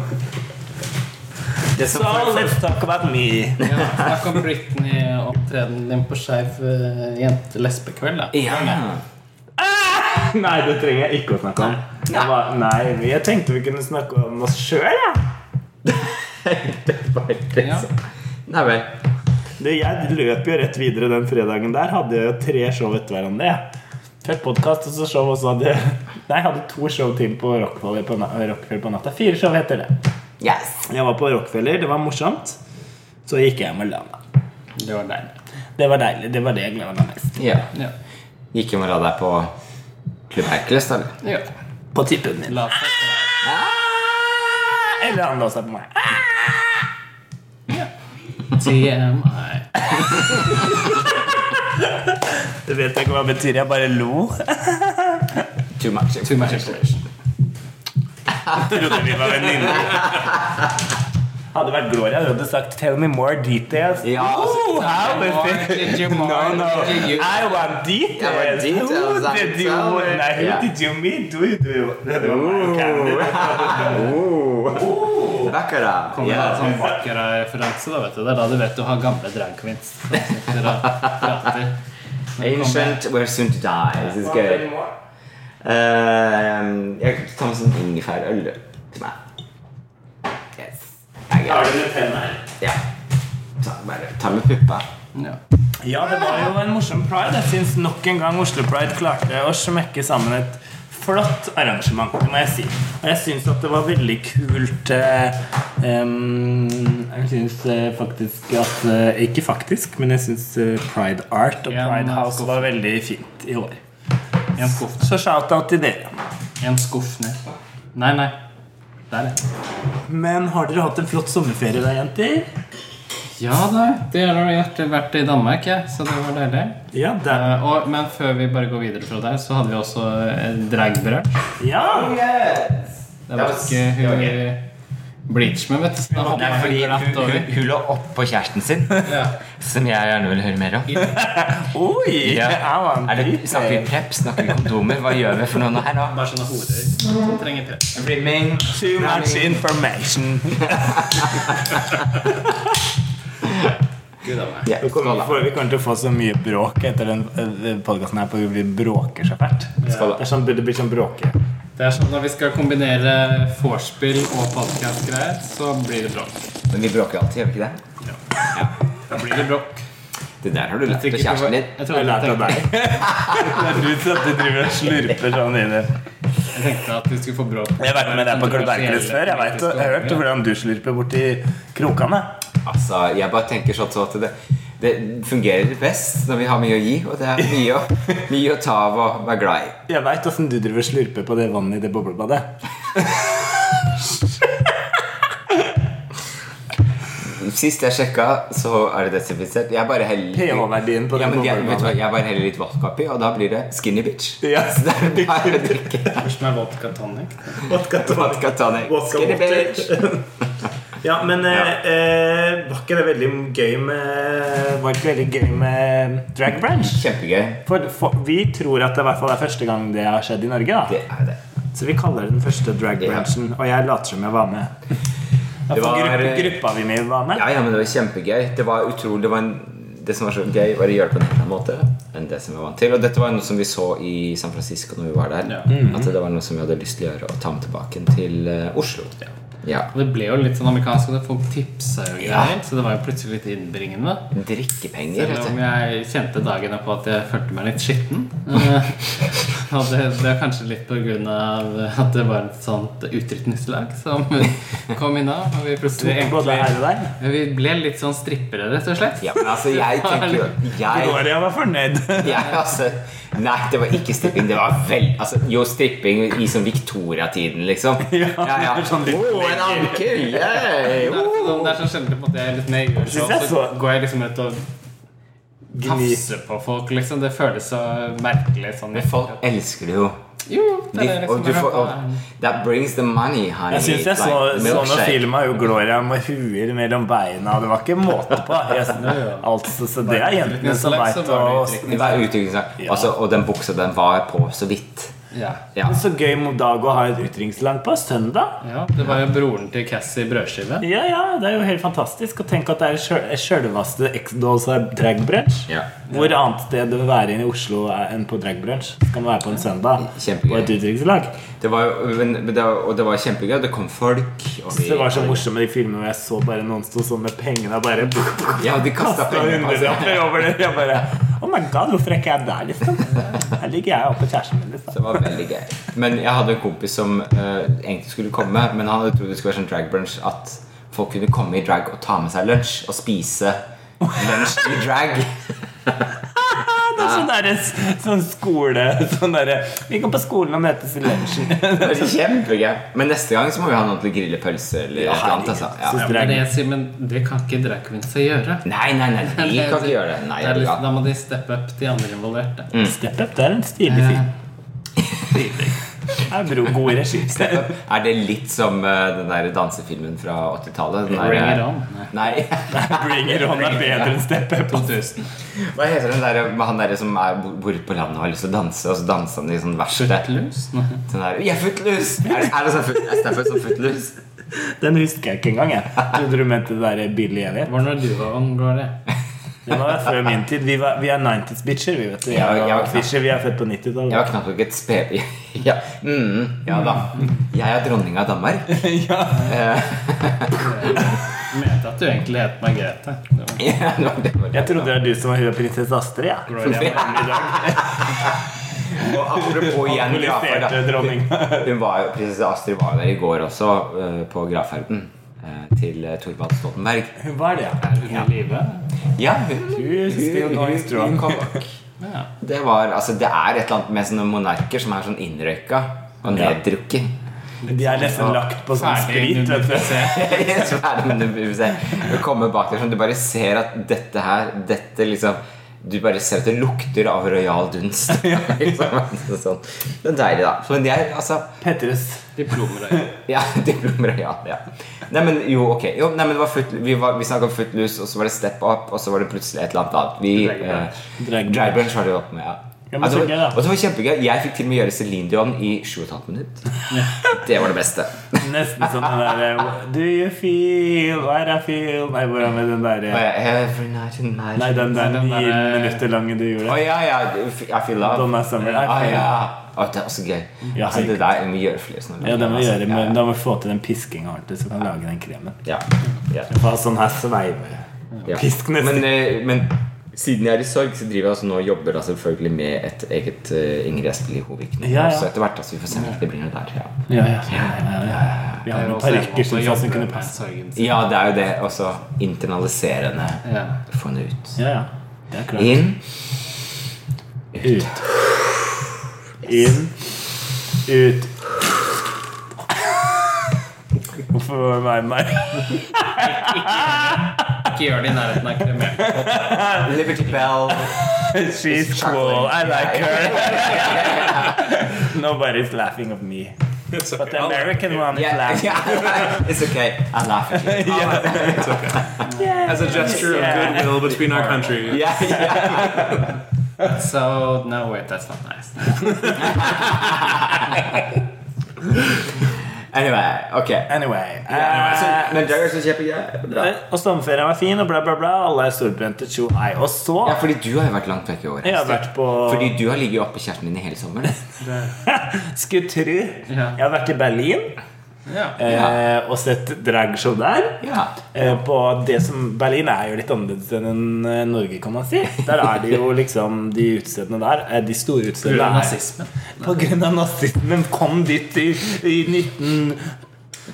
[SPEAKER 4] Det som
[SPEAKER 3] let's talk about me.
[SPEAKER 2] Ja, Snakk om Britney-opptredenen din på Skeiv eh, jente-lesbekveld. da.
[SPEAKER 4] Ja.
[SPEAKER 3] (laughs) Nei, det trenger jeg ikke å snakke om. Jeg var, nei, men jeg tenkte vi kunne snakke om oss sjøl, jeg.
[SPEAKER 2] Ja.
[SPEAKER 4] Nei vel.
[SPEAKER 3] Du, Jeg løp jo rett videre den fredagen der. Hadde jeg jo tre show etter hverandre. jeg. Først podkast, og så show, og så hadde jeg (laughs) Nei, jeg hadde to show til på Rockfeller på, na Rockfeller på natta. Fire show etter det.
[SPEAKER 4] Yes.
[SPEAKER 3] Jeg var på Rockfeller, det var morsomt. Så gikk jeg hjem og la meg.
[SPEAKER 2] Det var deilig.
[SPEAKER 3] Det var deilig. Det var det jeg gleda meg mest
[SPEAKER 4] Ja.
[SPEAKER 2] Ja.
[SPEAKER 4] Gikk jo med deg på Klubb Hercules, da. eller?
[SPEAKER 2] Ja.
[SPEAKER 3] på tippen min.
[SPEAKER 2] La seg ta.
[SPEAKER 4] Ah!
[SPEAKER 3] Eller han lå seg på meg.
[SPEAKER 2] Ja. TMI.
[SPEAKER 3] Det vet jeg ikke hva det betyr. Jeg bare lo. (laughs)
[SPEAKER 4] Too much.
[SPEAKER 2] Too much information.
[SPEAKER 3] Trodde vi var venninner. Hadde vært Gloria, hun hadde sagt 'Tell me more details'.
[SPEAKER 4] Ja, altså,
[SPEAKER 3] Oh, how
[SPEAKER 2] More,
[SPEAKER 3] was it?
[SPEAKER 2] did you more,
[SPEAKER 3] No, no.
[SPEAKER 2] did you-
[SPEAKER 3] I want
[SPEAKER 4] I want
[SPEAKER 3] details.
[SPEAKER 4] details,
[SPEAKER 3] Who
[SPEAKER 4] I'm
[SPEAKER 3] did you,
[SPEAKER 4] sorry.
[SPEAKER 3] nei, who
[SPEAKER 4] Ja.
[SPEAKER 3] did you meet? Do you do? Det var meg, Candy.
[SPEAKER 4] Baccarat.
[SPEAKER 2] Kommer det en sånn Baccarat-referanse, da, vet du. Det er da du vet du har gamle drag queens. som sitter og prater. (laughs) Men det kommer-
[SPEAKER 4] Ancient, we're soon to die. This is good. Uh, jeg kan ta med sånn ingefærøl til meg. Yes. Jeg
[SPEAKER 3] Har
[SPEAKER 4] er
[SPEAKER 3] du med penn her?
[SPEAKER 4] Ja. Ta, bare ta med puppa.
[SPEAKER 2] Ja.
[SPEAKER 3] Ja, det var jo en morsom pride. Jeg syns nok en gang Oslo Pride klarte å smekke sammen et flott arrangement. Det må jeg si. Og jeg syns at det var veldig kult eh, em, Jeg syns eh, faktisk at eh, Ikke faktisk, men jeg syns eh, Pride Art og
[SPEAKER 2] Ja, men altså-
[SPEAKER 3] Pride House
[SPEAKER 2] skuff.
[SPEAKER 3] var veldig fint i år.
[SPEAKER 2] En skuff,
[SPEAKER 3] Så shout-out til dere.
[SPEAKER 2] en skuff ned. Nei, nei. Der, ja.
[SPEAKER 3] Men har dere hatt en flott sommerferie da, jenter?
[SPEAKER 2] Ja da, det har jeg vært i Danmark, jeg, så det var deilig.
[SPEAKER 3] Ja, der.
[SPEAKER 2] Eh, og, men før vi bare går videre fra der, så hadde vi også eh, dragbrød.
[SPEAKER 3] ja.
[SPEAKER 2] Det var ikke hun i Bleach med, vet du. så Da
[SPEAKER 4] Nei,
[SPEAKER 2] hoppa hun
[SPEAKER 4] fordi hun,
[SPEAKER 2] glatt
[SPEAKER 4] hun,
[SPEAKER 2] over.
[SPEAKER 4] hun lå oppå kjæresten sin,
[SPEAKER 2] Ja.
[SPEAKER 4] som jeg gjerne vil høre mer om.
[SPEAKER 3] Oi!
[SPEAKER 4] Ja.
[SPEAKER 3] I want
[SPEAKER 4] Er det,
[SPEAKER 3] details.
[SPEAKER 4] snakker vi prep? Snakker vi kondomer? Hva gjør vi for noe nå her nå?
[SPEAKER 2] Bare sånne horer som trenger press.
[SPEAKER 4] Rimming.
[SPEAKER 3] Too much information.
[SPEAKER 2] Gud a meg.
[SPEAKER 4] Ja,
[SPEAKER 3] Vi kommer,
[SPEAKER 4] skål, da.
[SPEAKER 3] for, vi kommer til å få så mye bråk etter den podkasten her. For vi bråker så fælt.
[SPEAKER 4] Skål,
[SPEAKER 3] Det,
[SPEAKER 4] da.
[SPEAKER 3] er sånn, det blir sånn bråke.
[SPEAKER 2] Det er sånn når vi skal kombinere vorspiel og podcast-greier, så blir det bråk.
[SPEAKER 4] Men vi bråker alltid, gjør vi ikke det?
[SPEAKER 2] Da blir det bråk.
[SPEAKER 4] Det der har du lært av
[SPEAKER 2] Sikkert
[SPEAKER 4] kjæresten
[SPEAKER 2] du-
[SPEAKER 4] din.
[SPEAKER 2] Jeg,
[SPEAKER 3] Jeg har
[SPEAKER 2] trodde,
[SPEAKER 3] lært av deg. (laughs) det er du som alltid driver og slurper sånn i det.
[SPEAKER 2] jeg tenkte at vi skulle få bråk.
[SPEAKER 3] Jeg har vært med deg på Klubb Hercules før. Jeg, vet, jeg har hørt hvordan du slurper borti krokene.
[SPEAKER 4] Altså, jeg bare tenker sånn så at det, det fungerer best når vi har mye å gi, og det er mye
[SPEAKER 3] (laughs)
[SPEAKER 4] å, mye å ta av og være glad i.
[SPEAKER 3] Jeg veit åssen du driver og slurper på det vannet i det boblebadet.
[SPEAKER 4] Sist jeg sjekka, så er det desinfisert. Jeg bare heller
[SPEAKER 3] pH-verdien på
[SPEAKER 4] ja,
[SPEAKER 3] den
[SPEAKER 4] men jeg, vet du hva,
[SPEAKER 3] bombermannen.
[SPEAKER 4] jeg bare heller litt vodka oppi, og da blir det skinny
[SPEAKER 3] (laughs)
[SPEAKER 4] bitch.
[SPEAKER 3] Ja,
[SPEAKER 4] Så det er bare å drikke
[SPEAKER 2] Først med vodka tonic.
[SPEAKER 3] Vodka tonic.
[SPEAKER 4] (laughs) vodka tonic.
[SPEAKER 3] Vodka
[SPEAKER 4] Skinny
[SPEAKER 3] cocktail.
[SPEAKER 4] bitch.
[SPEAKER 3] Ja, men eh, eh, var ikke det veldig gøy med Var ikke veldig gøy med Drag Branch?
[SPEAKER 4] Kjempegøy.
[SPEAKER 3] For, for vi tror at det i hvert fall er første gang det har skjedd i Norge. da
[SPEAKER 4] Det er det.
[SPEAKER 3] Så vi kaller det den første drag
[SPEAKER 4] Ja.
[SPEAKER 3] branchen. Og jeg later som jeg var
[SPEAKER 4] (laughs)
[SPEAKER 3] med.
[SPEAKER 4] Det var-
[SPEAKER 3] Gruppe, gruppa vi med var med.
[SPEAKER 4] Ja, ja, men det var kjempegøy. Det var utrolig det, var en, det som var så gøy, var å gjøre det på en annen måte enn det som vi var vant til. Og dette var noe som vi så i San Francisco når vi var der.
[SPEAKER 2] Ja.
[SPEAKER 4] At det var noe som vi hadde lyst til å gjøre og ta med tilbake til eh, Oslo. Ja.
[SPEAKER 2] Og det ble jo litt sånn amerikansk, og det folk tipsa jo greier. Så det var jo plutselig litt innbringende.
[SPEAKER 4] Drikkepenger,
[SPEAKER 2] Selv
[SPEAKER 4] vet
[SPEAKER 2] om
[SPEAKER 4] du.
[SPEAKER 2] jeg kjente dagene på at jeg følte meg litt
[SPEAKER 4] (laughs)
[SPEAKER 2] skitten. Eh, Og det, det er kanskje litt på grunn av at det var et sånt utrykningslag som (laughs) kom inna. Og vi plutselig
[SPEAKER 3] Tok både her
[SPEAKER 2] egentlig
[SPEAKER 3] og der.
[SPEAKER 2] Vi ble litt sånn strippere, rett og slett.
[SPEAKER 4] Ja, men altså, jeg tenker jo jeg,
[SPEAKER 3] Gloria var
[SPEAKER 4] (laughs)
[SPEAKER 3] fornøyd.
[SPEAKER 4] jeg, altså, Nei, det var ikke stripping. Det var vel altså, Jo, stripping i sånn Victoria-tiden, liksom. Ja, ja.
[SPEAKER 3] det er sånn litt-
[SPEAKER 4] Å, en ankel!
[SPEAKER 2] Det er
[SPEAKER 4] Yeah.
[SPEAKER 2] sånn- det er så sjelden på en måte jeg er litt med i
[SPEAKER 3] Synes jeg
[SPEAKER 2] juleshow, så
[SPEAKER 3] så-
[SPEAKER 2] går jeg liksom ut og tafser på folk, liksom. Det føles så merkelig sånn.
[SPEAKER 4] Men folk elsker det jo.
[SPEAKER 2] Jo, jo, det er
[SPEAKER 4] De,
[SPEAKER 2] liksom
[SPEAKER 4] og du får, og,
[SPEAKER 2] bare-
[SPEAKER 4] that brings the money, honey.
[SPEAKER 3] Jeg syns jeg så
[SPEAKER 4] Like
[SPEAKER 3] sånne
[SPEAKER 4] milkshake.
[SPEAKER 3] filmer jo Gloria med huer mellom beina. Det var ikke måte
[SPEAKER 4] (laughs)
[SPEAKER 3] på. Jeg, altså, så det er jentene som
[SPEAKER 2] Utrykningslag, så
[SPEAKER 3] veit
[SPEAKER 2] var det
[SPEAKER 3] å
[SPEAKER 2] utrykning.
[SPEAKER 4] Det var utviklingslag. Altså, og den buksa, den var på så vidt.
[SPEAKER 2] Ja.
[SPEAKER 4] Ja.
[SPEAKER 3] Så gøy med dag å ha et utringningsland på søndag.
[SPEAKER 2] ja, det var jo broren til Cassie Brødskive.
[SPEAKER 3] Ja, ja, Det er jo helt fantastisk å tenke at det er sjøl- sjølveste X-Dolls av drag brunch.
[SPEAKER 4] Ja.
[SPEAKER 3] Hvor annet sted å være inne i Oslo er- enn på drag brunch? Skal man være på en søndag
[SPEAKER 4] Kjempegøy.
[SPEAKER 3] på et utdrikningslag?
[SPEAKER 4] Det var, jo- men, men det, var- og det var kjempegøy. Det kom folk. Og vi-
[SPEAKER 3] Det var så morsomt med de filmene hvor jeg så bare noen sto sånn med pengene og bare (laughs)
[SPEAKER 4] Ja, de kasta
[SPEAKER 3] kasta
[SPEAKER 4] penger på oss.
[SPEAKER 3] hundrelapper over det. Jeg bare Oh my god, hvorfor er ikke jeg der, liksom? Her ligger jeg oppe på kjæresten min.
[SPEAKER 4] (laughs) Det
[SPEAKER 3] liksom
[SPEAKER 4] var veldig gøy. Men jeg hadde en kompis som eh, egentlig skulle komme, men han hadde trodd det skulle være sånn drag brunch at folk kunne komme i drag og ta med seg lunsj og spise lunsj i drag.
[SPEAKER 3] Det er sånn derre s- sånn skole Sånn derre Vi går på skolen og møtes i lunsjen.
[SPEAKER 4] (laughs) Det var Kjempegøy. Men neste gang så må vi ha noen til å grille pølse eller et eller annet. Altså. Ja.
[SPEAKER 3] Så
[SPEAKER 2] Men
[SPEAKER 3] drag-
[SPEAKER 2] jeg sier, men det kan ikke drag queensa gjøre.
[SPEAKER 4] Nei, nei, nei, vi kan ikke gjøre det. Nei,
[SPEAKER 2] Det er
[SPEAKER 4] ja.
[SPEAKER 2] liksom, da må de steppe up, de andre involverte. Eh,
[SPEAKER 3] Step Up det er en stilig film. Det er bro, god regi.
[SPEAKER 4] (laughs) Er det litt som eh, den der dansefilmen fra 80-tallet? Den der- eh,
[SPEAKER 2] Bring it on.
[SPEAKER 4] Nei. (laughs)
[SPEAKER 3] Bring It On er bedre enn Step Up.
[SPEAKER 4] Hva heter den der med han derre som er, bor bor på landet og har lyst til å danse, og så danser han i sånn verksted?
[SPEAKER 2] Footloose?
[SPEAKER 4] Den der Ja, footloose! Er, er det sånn foot, er Stafford sånn footloose?
[SPEAKER 3] Den husker jeg ikke engang. jeg Trodde du mente det der Billy Elliot?
[SPEAKER 2] Det var når du var ung, Gloria.
[SPEAKER 3] Det var før min tid. Vi, var, vi er 90s-bitcher. Vi vet du.
[SPEAKER 4] Ja,
[SPEAKER 3] Jeg og
[SPEAKER 4] ja, ja.
[SPEAKER 3] Fischer, vi er født på
[SPEAKER 4] Jeg var
[SPEAKER 3] 90-tallet.
[SPEAKER 4] knapt nok et sped... (laughs) Ja. Mm, ja da. Jeg er dronning av Danmark. (laughs)
[SPEAKER 2] Jeg mente at du egentlig het Margrethe. Det var
[SPEAKER 4] Ja, det var det.
[SPEAKER 3] Jeg trodde det var du som var hun og prinsesse Astrid. Ja.
[SPEAKER 2] Gloria.
[SPEAKER 4] Og
[SPEAKER 3] (laughs)
[SPEAKER 4] apropos igjen grafer,
[SPEAKER 3] Mobiliserte
[SPEAKER 4] da.
[SPEAKER 3] dronning.
[SPEAKER 4] (laughs) Hun var jo, Prinsesse Astrid var jo der i går også, eh, på gravferden eh, til eh, Thorvald Stoltenberg.
[SPEAKER 3] Hun var det, ja.
[SPEAKER 2] Er hun i live?
[SPEAKER 4] Ja, hun,
[SPEAKER 3] Hun still going strong.
[SPEAKER 2] Ja.
[SPEAKER 4] Det var, altså det er et eller annet med sånne monarker som er sånn innrøyka og neddrukket. (laughs)
[SPEAKER 3] De er nesten lagt på sånn
[SPEAKER 2] Ferdig
[SPEAKER 3] sprit. Vet du.
[SPEAKER 2] nummer
[SPEAKER 4] Så er det- men du- vi får se. Du kommer bak der sånn, du bare ser at dette her, dette liksom Du bare ser at det lukter av rojal dunst. (laughs) Liksom, sånn. Det er deilig, da. Men jeg, altså
[SPEAKER 3] Petrus.
[SPEAKER 2] Diplomer.
[SPEAKER 4] Ja, (laughs) diplomrojal. Ja. Nei, men jo, ok. Jo, nei, men det var foot, vi var- vi snakka om footloose, og så var det step up, og så var det plutselig et eller annet annet. Vi,
[SPEAKER 2] Drag brunch.
[SPEAKER 4] eh, drag brunch var det jo opp med, ja.
[SPEAKER 3] Ja, men
[SPEAKER 4] Ja, det
[SPEAKER 3] så gøy,
[SPEAKER 4] var,
[SPEAKER 3] da.
[SPEAKER 4] og det var kjempegøy. Jeg fikk til og med gjøre Celine Dion i 7,5 minutter. Det var det beste.
[SPEAKER 3] Nesten som den derre Do you feel what I feel Nei, hvordan med den
[SPEAKER 4] Og
[SPEAKER 3] derre
[SPEAKER 4] jeg, Every night in my
[SPEAKER 3] Nei, den der
[SPEAKER 2] Den
[SPEAKER 3] ni
[SPEAKER 2] derre-
[SPEAKER 3] minutter lange du
[SPEAKER 4] Å
[SPEAKER 3] gjorde.
[SPEAKER 4] ja, ja. I feel love.
[SPEAKER 3] Donna Summer.
[SPEAKER 4] Ah, ja. Å, det er også gøy.
[SPEAKER 3] Ja,
[SPEAKER 4] altså, det der må vi gjøre flere sånne.
[SPEAKER 3] Ja, det må vi gjøre, men
[SPEAKER 4] ja,
[SPEAKER 3] da må vi få til den piskinga ordentlig, så kan vi lage den kremen.
[SPEAKER 4] ja. Ja,
[SPEAKER 3] Få sånn her sveive.
[SPEAKER 4] ja.
[SPEAKER 3] Pisk nesten.
[SPEAKER 4] Men, eh, men siden jeg er i sorg, så driver jeg altså nå og jobber da selvfølgelig med et eget eh, Ingrid Espelid Hovig.
[SPEAKER 3] Ja, ja.
[SPEAKER 4] Så etter hvert, altså, vi får se om det blir noe der. Ja.
[SPEAKER 3] Ja, ja, ja, ja, (laughs) ja. Vi har noen parykker liksom, som jeg som kunne passe.
[SPEAKER 4] ja, det er jo det. Også internaliserende.
[SPEAKER 2] Ja.
[SPEAKER 4] Få det ut.
[SPEAKER 3] Ja, ja. Det er klart.
[SPEAKER 4] Inn.
[SPEAKER 3] Ut. Inn. Ut. Hvorfor var det meg?
[SPEAKER 2] ikke gjør det i nærheten av kremert.
[SPEAKER 4] Liberty (laughs) Bell.
[SPEAKER 3] She's cool. I like her. Nobody's laughing at me.
[SPEAKER 5] It's
[SPEAKER 3] But
[SPEAKER 5] okay.
[SPEAKER 3] the
[SPEAKER 5] I'll-
[SPEAKER 3] American one is
[SPEAKER 4] Yeah,
[SPEAKER 3] laughing.
[SPEAKER 4] yeah. (laughs) It's okay. I laugh at you.
[SPEAKER 5] As a gesture
[SPEAKER 3] Yeah.
[SPEAKER 5] of goodwill between our countries.
[SPEAKER 4] Yeah, yeah.
[SPEAKER 2] So, no, wait, that's not nice. (laughs)
[SPEAKER 4] Anyway, ok.
[SPEAKER 3] Anyway.
[SPEAKER 4] Så,
[SPEAKER 3] eh,
[SPEAKER 4] men dere som kjøper greier
[SPEAKER 3] og sommerferien var fin, og bla, bla, bla. Alle er storbrente. Tjo hei. Og så
[SPEAKER 4] Ja, fordi du har jo vært langt vekk i år.
[SPEAKER 3] Jeg har vært på
[SPEAKER 4] Fordi du har ligget oppe i kjæresten din i hele sommeren.
[SPEAKER 3] Skulle tru.
[SPEAKER 2] Ja.
[SPEAKER 3] Jeg har vært i Berlin
[SPEAKER 2] Ja.
[SPEAKER 3] eh, og sett dragshow der.
[SPEAKER 4] (laughs) Ja.
[SPEAKER 3] Eh, På det som Berlin er jo litt annerledes enn eh, Norge, kan man si. Der er det jo liksom de utestedene der. eh, De store utestedene
[SPEAKER 2] Grunn
[SPEAKER 3] er-
[SPEAKER 2] nazismen.
[SPEAKER 3] På grunn av nazismen kom dit i, i 19...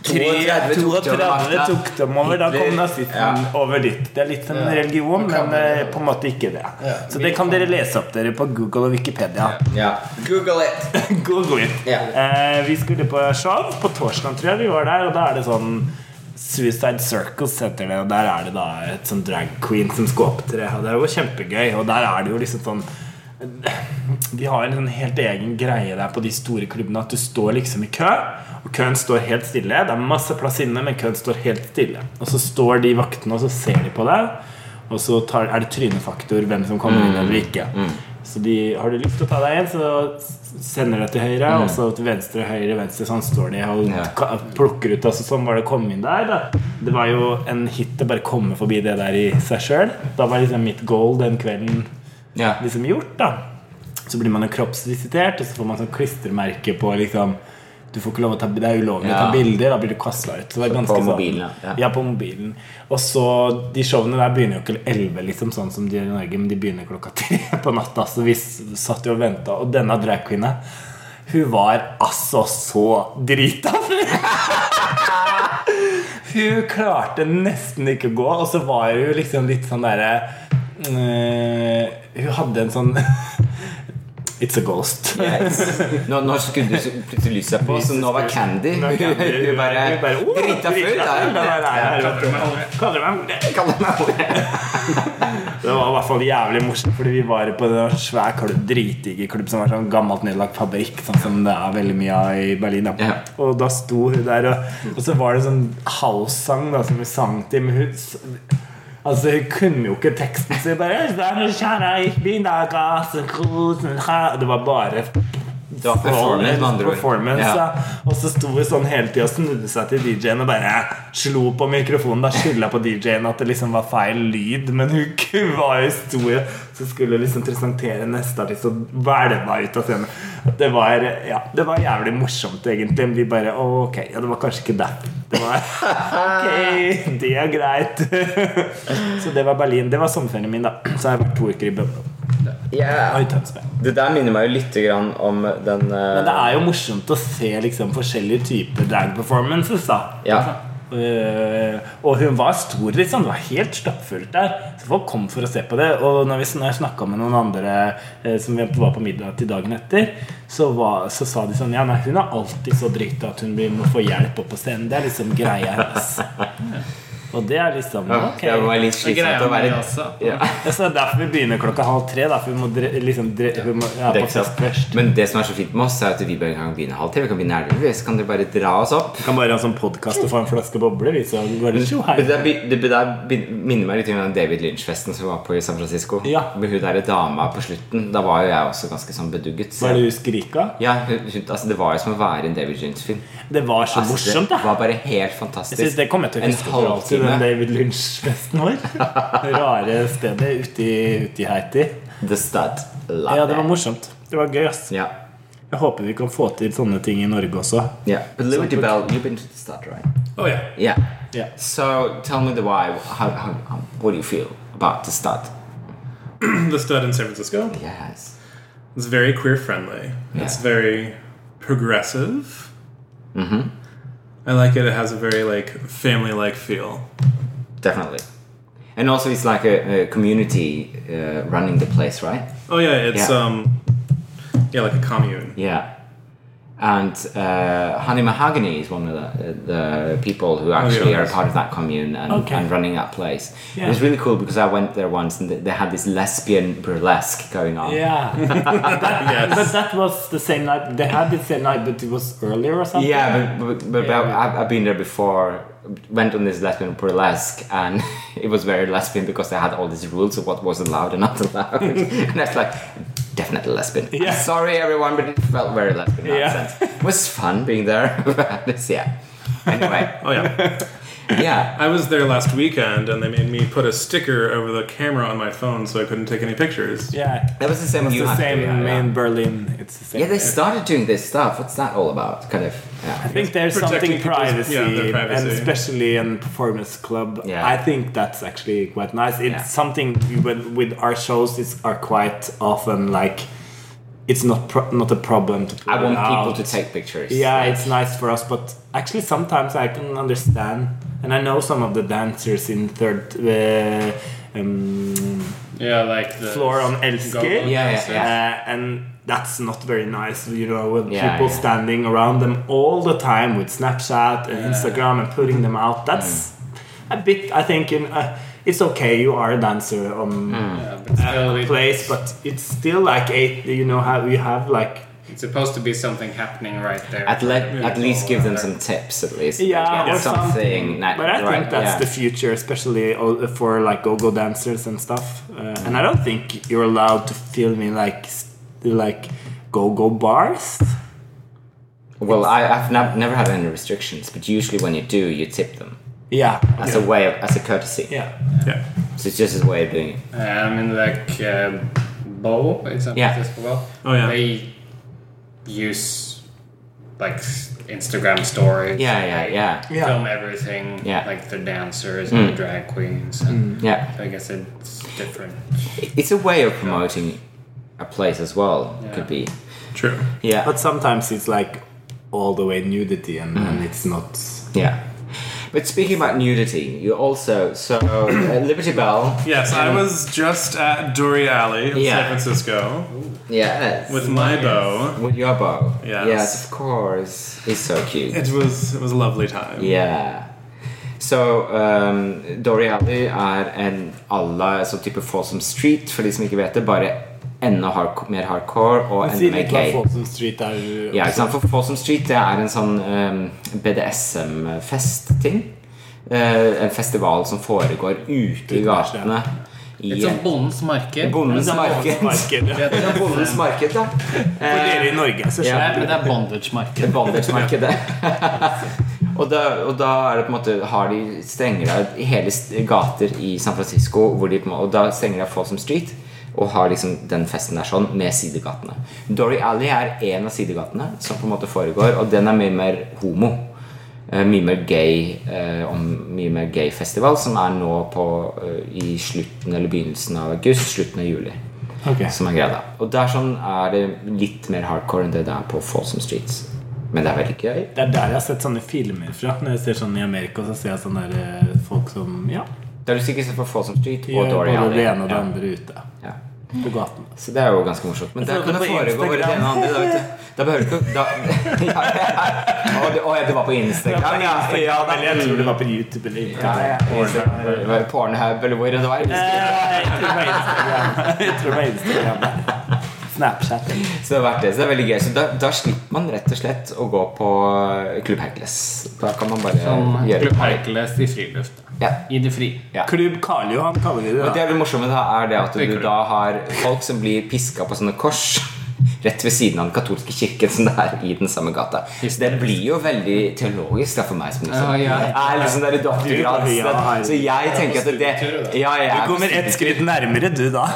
[SPEAKER 4] 32 tok de over
[SPEAKER 3] 32
[SPEAKER 4] makta.
[SPEAKER 3] tok dem over. Da kom
[SPEAKER 4] Hitler.
[SPEAKER 3] nazismen over dit. Det er litt som en religion, men eh, på en måte ikke det. Så det kan dere lese opp dere på Google og Wikipedia.
[SPEAKER 4] Ja. Google it!
[SPEAKER 3] Google it.
[SPEAKER 4] Ja.
[SPEAKER 3] Eh, vi skulle på show på torsdag, tror jeg vi var der. Og da er det sånn Suicide Circles heter det. Og der er det da et sånn drag queen som skal opptre. Og det er jo kjempegøy. Og der er det jo liksom sånn de har en sånn helt egen greie der på de store klubbene at du står liksom i kø, og køen står helt stille. Det er masse plass inne, men køen står helt stille. Og så står de vaktene, og så ser de på deg, og så tar, er det trynefaktor hvem som kommer
[SPEAKER 4] Mm.
[SPEAKER 3] inn eller ikke. Så de, har du lyst til å ta deg inn, så s- sender de til høyre, og så til venstre, høyre, venstre. Sånn står de og
[SPEAKER 4] Mm. Ja.
[SPEAKER 3] ka- plukker ut. Altså, sånn var det å komme inn der. Da. Det var jo en hit å bare komme forbi det der i seg sjøl. Da var liksom mitt goal den kvelden
[SPEAKER 4] Ja.
[SPEAKER 3] liksom gjort da Så blir man jo kroppsvisitert Og så får man sånn klistremerke på liksom Du får ikke lov å ta, det er ulovlig å
[SPEAKER 4] Ja.
[SPEAKER 3] ta bilder Da blir du kastet ut Så det er ganske sånn-
[SPEAKER 4] mobilen, ja. Ja.
[SPEAKER 3] ja, på mobilen Og så, de showene der begynner jo ikke 11 liksom Sånn som de gjør i Norge Men de begynner klokka (laughs) 3 på natta Så vi s- satt jo og ventet Og denne dragkvinne Hun var altså så drita (laughs) hun klarte nesten ikke å gå, og så var hun liksom litt sånn derre eh, Hun hadde en sånn (laughs) It's a ghost.
[SPEAKER 4] Nå, nå skulle du så- plutselig lyset seg på, så nå var Candy
[SPEAKER 3] Nå kan du-
[SPEAKER 4] (laughs) Du bare
[SPEAKER 3] du bare, "Oh, «Åh,
[SPEAKER 4] drita full.
[SPEAKER 3] drita full, da, da,
[SPEAKER 4] der.
[SPEAKER 3] da, da». Kaller du
[SPEAKER 4] (laughs)
[SPEAKER 3] meg
[SPEAKER 4] Kall det meg
[SPEAKER 3] (laughs)
[SPEAKER 4] ordet.
[SPEAKER 3] Det var i hvert fall jævlig morsomt, fordi vi var på en svær klubb, dritdigg klubb som var sånn gammelt nedlagt fabrikk, sånn som det er veldig mye av i Berlin. Da.
[SPEAKER 4] Ja.
[SPEAKER 3] Og da sto hun der, og, og så var det sånn house-sang da, som hun sang til, men hun s- Altså, hun kunne jo ikke teksten, så hun bare Det var bare
[SPEAKER 4] Det var performance, med andre ord.
[SPEAKER 3] Performance,
[SPEAKER 4] Ja.
[SPEAKER 3] ja. Og så sto vi sånn hele tida og snudde seg til DJ-en og bare eh, slo på mikrofonen. Da skylda på DJ-en at det liksom var feil lyd, men hun (laughs) ku- var jo stor. Så skulle hun liksom presentere neste artist og hvelva ut av scenen. Det var, ja, det var jævlig morsomt, egentlig. Men vi bare «Å, Ok, ja, det var kanskje ikke det. Det var (laughs) Ok, det er greit. (laughs) Så det var Berlin. Det var sommerferien min, da. Så har jeg vært to uker i Bømlo.
[SPEAKER 4] Ja.
[SPEAKER 3] Og i Tønsberg.
[SPEAKER 4] Det der minner meg jo litt grann om den eh,
[SPEAKER 3] Men det er jo morsomt å se liksom forskjellige typer drag performances, da.
[SPEAKER 4] Ja.
[SPEAKER 3] Eh, og hun var stor, liksom. Det var helt stappfullt der. Så folk kom for å se på det. Og når vi sn- når jeg snakka med noen andre eh, som vi var på middag til dagen etter, så, var, så sa de sånn Ja, nei, hun er alltid så drita at hun blir, må få hjelp opp på scenen. Det er liksom greia hennes. Og det er liksom ok.
[SPEAKER 4] Det var litt
[SPEAKER 2] Det greier
[SPEAKER 4] slitsomt å være
[SPEAKER 2] meg også.
[SPEAKER 4] ja.
[SPEAKER 3] Ja, så det er derfor vi begynner klokka halv tre. Derfor vi må dre, liksom dre, vi må, ja, på
[SPEAKER 4] Dekke seg
[SPEAKER 3] fest
[SPEAKER 4] opp.
[SPEAKER 3] først.
[SPEAKER 4] Men det som er så fint med oss, er at vi bare kan begynne halv tre. Vi kan begynne elleve, så kan dere bare dra oss opp.
[SPEAKER 3] Vi kan bare ha en sånn podkast og få en flaske bobler. Vi, så går det tjo hei.
[SPEAKER 4] Det der, det der minner meg litt om den David Lynch-festen som var på i San Francisco.
[SPEAKER 3] Ja.
[SPEAKER 4] Med hun derre dama på slutten. Da var jo jeg også ganske sånn bedugget.
[SPEAKER 3] Hva er det du skriker av?
[SPEAKER 4] Ja, hun, hun, altså Det var jo som å være i en David Lynch-film.
[SPEAKER 3] Det var så
[SPEAKER 4] Altså,
[SPEAKER 3] morsomt,
[SPEAKER 4] det
[SPEAKER 3] da.
[SPEAKER 4] var bare helt
[SPEAKER 3] Jeg
[SPEAKER 4] fantastisk.
[SPEAKER 3] synes Det kommer jeg til å
[SPEAKER 4] En
[SPEAKER 3] huske for alltid,
[SPEAKER 4] halvtime.
[SPEAKER 3] den David Lynch-festen vår. Det Rare stedet ute i, ute i Haiti.
[SPEAKER 4] The Stud. Love
[SPEAKER 3] Ja, det var
[SPEAKER 4] it.
[SPEAKER 3] morsomt. Det var gøy, ass.
[SPEAKER 4] Ja.
[SPEAKER 3] Jeg håper vi kan få til sånne ting i Norge også.
[SPEAKER 4] Yeah. But Liberty Bell, you've been to the Stud, right?
[SPEAKER 5] Oh yeah. (clears throat)
[SPEAKER 4] Yeah.
[SPEAKER 3] Ja.
[SPEAKER 4] So tell me the why. How, how, how, what do you feel about the Stud?
[SPEAKER 5] The stud in San Francisco.
[SPEAKER 4] Yes.
[SPEAKER 5] It's very queer friendly. It's
[SPEAKER 4] Yeah.
[SPEAKER 5] very progressive. Mm-hmm. I like it. It has a very like family like feel.
[SPEAKER 4] Definitely. And also, it's like a, a community uh, running the place, right?
[SPEAKER 5] Oh yeah, it's
[SPEAKER 4] Yeah.
[SPEAKER 5] um yeah like a commune.
[SPEAKER 4] Yeah. And uh, Honey Mahogany is one of the, the people who actually are
[SPEAKER 5] yes.
[SPEAKER 4] part of that commune and,
[SPEAKER 3] Oh, Okay.
[SPEAKER 4] and running that place. It
[SPEAKER 3] Yeah.
[SPEAKER 4] was really cool because I went there once and they- they had this lesbian burlesque going on.
[SPEAKER 3] Yeah.
[SPEAKER 5] yes.
[SPEAKER 3] But that was the same night. They had it same night, but it was earlier or something.
[SPEAKER 4] Yeah, but, but, but
[SPEAKER 3] Yeah.
[SPEAKER 4] I've, I've been there before. Went on this lesbian burlesque, and (laughs) it was very lesbian because they had all these rules of what was allowed and not (laughs) allowed. and that's like definitely lesbian.
[SPEAKER 3] Yeah.
[SPEAKER 4] Sorry, everyone, but it felt very lesbian. in that
[SPEAKER 3] Yeah.
[SPEAKER 4] sense. It was fun being there. (laughs) but it's- yeah. Anyway,
[SPEAKER 5] Oh yeah.
[SPEAKER 4] yeah.
[SPEAKER 5] (laughs) I was there last weekend, and they made me put a sticker over the camera on my phone so I couldn't take any pictures.
[SPEAKER 3] Yeah.
[SPEAKER 4] That was the same.
[SPEAKER 3] It's
[SPEAKER 4] you
[SPEAKER 3] the
[SPEAKER 4] had to
[SPEAKER 3] same
[SPEAKER 4] do, yeah,
[SPEAKER 3] in Berlin. It's the same.
[SPEAKER 4] Yeah, they started doing this stuff. What's that all about? Kind of.
[SPEAKER 3] I
[SPEAKER 4] Yeah.
[SPEAKER 3] think there's
[SPEAKER 5] Protecting
[SPEAKER 3] something
[SPEAKER 5] people's-
[SPEAKER 3] privacy,
[SPEAKER 5] yeah, their privacy.
[SPEAKER 3] and especially in performance club.
[SPEAKER 4] Yeah.
[SPEAKER 3] I think that's actually quite nice. It's
[SPEAKER 4] Yeah.
[SPEAKER 3] something we, with, with our shows is are quite often like it's not pro- not a problem to.
[SPEAKER 4] I
[SPEAKER 3] put
[SPEAKER 4] want
[SPEAKER 3] it out.
[SPEAKER 4] people to take pictures.
[SPEAKER 3] Yeah, it's nice for us, but actually sometimes I can understand, and I know some of the dancers in third uh, um,
[SPEAKER 2] Yeah, like the
[SPEAKER 3] floor on Elsker.
[SPEAKER 2] Go-go
[SPEAKER 4] Yeah,
[SPEAKER 2] dancer.
[SPEAKER 4] yeah,
[SPEAKER 3] Uh, and that's not very nice, you know, with
[SPEAKER 4] Yeah,
[SPEAKER 3] people
[SPEAKER 4] yeah.
[SPEAKER 3] standing around them all the time with Snapchat and Instagram and putting them out. That's a
[SPEAKER 4] Mm.
[SPEAKER 3] bit, I think, in, uh, it's okay, you are a dancer on
[SPEAKER 4] Mm.
[SPEAKER 2] Yeah, but still,
[SPEAKER 3] a
[SPEAKER 2] it-
[SPEAKER 3] place, but it's still like eight, you know, how you have like.
[SPEAKER 2] it's supposed to be something happening right there.
[SPEAKER 4] At, le- at least give them
[SPEAKER 2] Or-
[SPEAKER 4] some tips, at least.
[SPEAKER 3] Yeah,
[SPEAKER 4] Get
[SPEAKER 3] or
[SPEAKER 4] something.
[SPEAKER 3] something.
[SPEAKER 4] that-
[SPEAKER 3] But I
[SPEAKER 4] right,
[SPEAKER 3] think that's
[SPEAKER 4] yeah.
[SPEAKER 3] the future, especially all- for like go-go dancers and stuff. Uh, And I don't think you're allowed to film in like s- like go-go bars.
[SPEAKER 4] Well, I, I've nav- never had any restrictions, but usually when you do, you tip them
[SPEAKER 3] Yeah.
[SPEAKER 4] as a way of, as a courtesy.
[SPEAKER 3] Yeah.
[SPEAKER 5] Yeah.
[SPEAKER 4] So it's just a way of doing it.
[SPEAKER 2] Uh, I mean, like uh, Bo in San
[SPEAKER 4] Yeah.
[SPEAKER 2] Francisco. Bo,
[SPEAKER 5] Oh, yeah.
[SPEAKER 2] They use like s- Instagram stories.
[SPEAKER 4] Yeah, yeah, yeah.
[SPEAKER 2] They
[SPEAKER 3] Yeah.
[SPEAKER 2] Film everything.
[SPEAKER 4] Yeah. Mm.
[SPEAKER 2] Like the dancers and the drag queens. And
[SPEAKER 4] Yeah,
[SPEAKER 2] I guess it's different.
[SPEAKER 4] it's a way of promoting a place as well. Could be.
[SPEAKER 5] True.
[SPEAKER 4] Yeah,
[SPEAKER 3] But sometimes it's like all the way nudity and, and it's not.
[SPEAKER 4] yeah. But speaking about nudity, you also so uh, Liberty Bell.
[SPEAKER 5] Yes, I was just at Dory Alley in
[SPEAKER 4] Yeah.
[SPEAKER 5] San Francisco
[SPEAKER 4] Yes.
[SPEAKER 5] with my bow.
[SPEAKER 4] With your bow.
[SPEAKER 5] Yes.
[SPEAKER 4] Yes, of course. It's so cute.
[SPEAKER 5] It was it was a lovely time.
[SPEAKER 4] Yeah. Så um, Dory Alley er en alla sånn type Folsom Street, for de som ikke vet det. Bare enda hardco- mer hardcore og enda mer gay.
[SPEAKER 3] Street er jo
[SPEAKER 4] Ja, ikke sant? For Folsom Street det er en sånn um, BDSM-fest-ting. Eh, en festival som foregår ute i gatene. I
[SPEAKER 2] Litt sånn Bondens marked.
[SPEAKER 4] bondens
[SPEAKER 3] Det er
[SPEAKER 4] marked.
[SPEAKER 3] marked, (laughs) ja.
[SPEAKER 2] Det er
[SPEAKER 4] Bondens marked, da.
[SPEAKER 3] For
[SPEAKER 4] Eh,
[SPEAKER 3] dere i Norge, så skjønner
[SPEAKER 2] Nei, men det er bondage-marked.
[SPEAKER 4] Bondage-markedet. (laughs) og, da, og da er det på en måte har de strenger av hele st- gater i San Francisco, hvor de på en måte, og da strenger de av Folsom Street. Og har liksom den festen der sånn med sidegatene. Dory Alley er en av sidegatene som på en måte foregår, og den er mye mer homo. Eh, Mye mer gay eh, om mye mer gay festival, som er nå på, eh, i slutten eller begynnelsen av august. Slutten av juli
[SPEAKER 3] jeg. Ok.
[SPEAKER 4] som er greia da. Og der sånn er det litt mer hardcore enn det det er på Folsom Streets. Men det er veldig gøy.
[SPEAKER 3] Det er der jeg har sett sånne filmer fra. Når jeg ser sånn i Amerika, så ser jeg sånne der, eh, folk som ja,
[SPEAKER 4] Det er du sikkert sett på Folsom Street og
[SPEAKER 3] gjør både
[SPEAKER 4] Dory
[SPEAKER 3] det
[SPEAKER 4] Alley.
[SPEAKER 3] ene og det
[SPEAKER 4] Ja.
[SPEAKER 3] andre ute
[SPEAKER 4] Ja.
[SPEAKER 3] på gaten.
[SPEAKER 4] Så det er jo ganske morsomt. Men
[SPEAKER 3] Jeg så
[SPEAKER 4] der kan
[SPEAKER 3] det
[SPEAKER 4] det
[SPEAKER 3] på
[SPEAKER 4] foregå bare det ene og andre. Da, vet du. da behøver du ikke da, ja, ja. (laughs) Å, det- Å ja, det var på Instagram, ja. ja da.
[SPEAKER 3] Eller jeg tror det var på YouTube eller
[SPEAKER 4] Ja, ja.
[SPEAKER 3] Internet.
[SPEAKER 4] Det var Pornhub eller hvor det var.
[SPEAKER 3] Eh, Jeg tror det var Instagram. (laughs) Jeg tror det var (laughs) Instagram. Snapchat.
[SPEAKER 4] Så det har vært det, så det er veldig gøy. Så da, da slipper man rett og slett å gå på Klubb Hercules. Da kan man bare
[SPEAKER 2] Som
[SPEAKER 4] gjøre
[SPEAKER 2] Klubb Hercules i friluft.
[SPEAKER 4] ja.
[SPEAKER 2] I det fri.
[SPEAKER 4] Ja.
[SPEAKER 3] Klubb Karl Johan kaller vi det.
[SPEAKER 4] Men
[SPEAKER 3] da.
[SPEAKER 4] det er det morsomme da, er det at du
[SPEAKER 2] Tenker du?
[SPEAKER 4] da har folk som blir piska på sånne kors (laughs) rett ved siden av den katolske kirken som det er i den samme gata. Så det blir jo veldig teologisk da, for meg som liksom,
[SPEAKER 2] Ja, ja.
[SPEAKER 4] er liksom der i doktorgrad.
[SPEAKER 3] Du, ja,
[SPEAKER 4] så- Så jeg tenker at det ja, jeg er
[SPEAKER 3] Du kommer ett skritt nærmere, du,
[SPEAKER 4] (laughs)
[SPEAKER 3] da.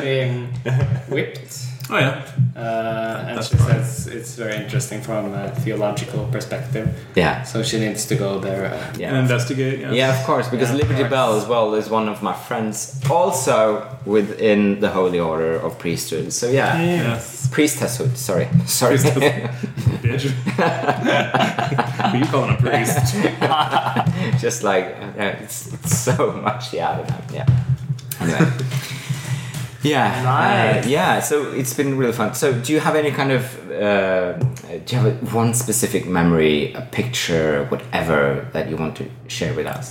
[SPEAKER 2] being whipped.
[SPEAKER 5] Oh yeah.
[SPEAKER 2] Uh, and she says it's very interesting from a theological perspective.
[SPEAKER 4] Yeah.
[SPEAKER 2] So she needs to go there. Uh,
[SPEAKER 5] And
[SPEAKER 4] Yeah.
[SPEAKER 5] investigate. Yes.
[SPEAKER 4] Yeah, of course, because
[SPEAKER 2] Yeah, of
[SPEAKER 4] Liberty
[SPEAKER 2] course.
[SPEAKER 4] Bell as well is one of my friends, also within the Holy Order of Priesthood. So
[SPEAKER 5] Mm.
[SPEAKER 4] yeah,
[SPEAKER 5] Yes.
[SPEAKER 4] priestesshood. Sorry, sorry. (laughs)
[SPEAKER 5] Priestess- Bitch. Who you calling a priest?
[SPEAKER 4] just (laughs) like uh, it's, it's so much yeah, I don't know yeah anyway Yeah.
[SPEAKER 3] Nice.
[SPEAKER 4] Uh, yeah. So it's been really fun. So do you have any kind of uh, do you have a, one specific memory, a picture, whatever that you want to share with us?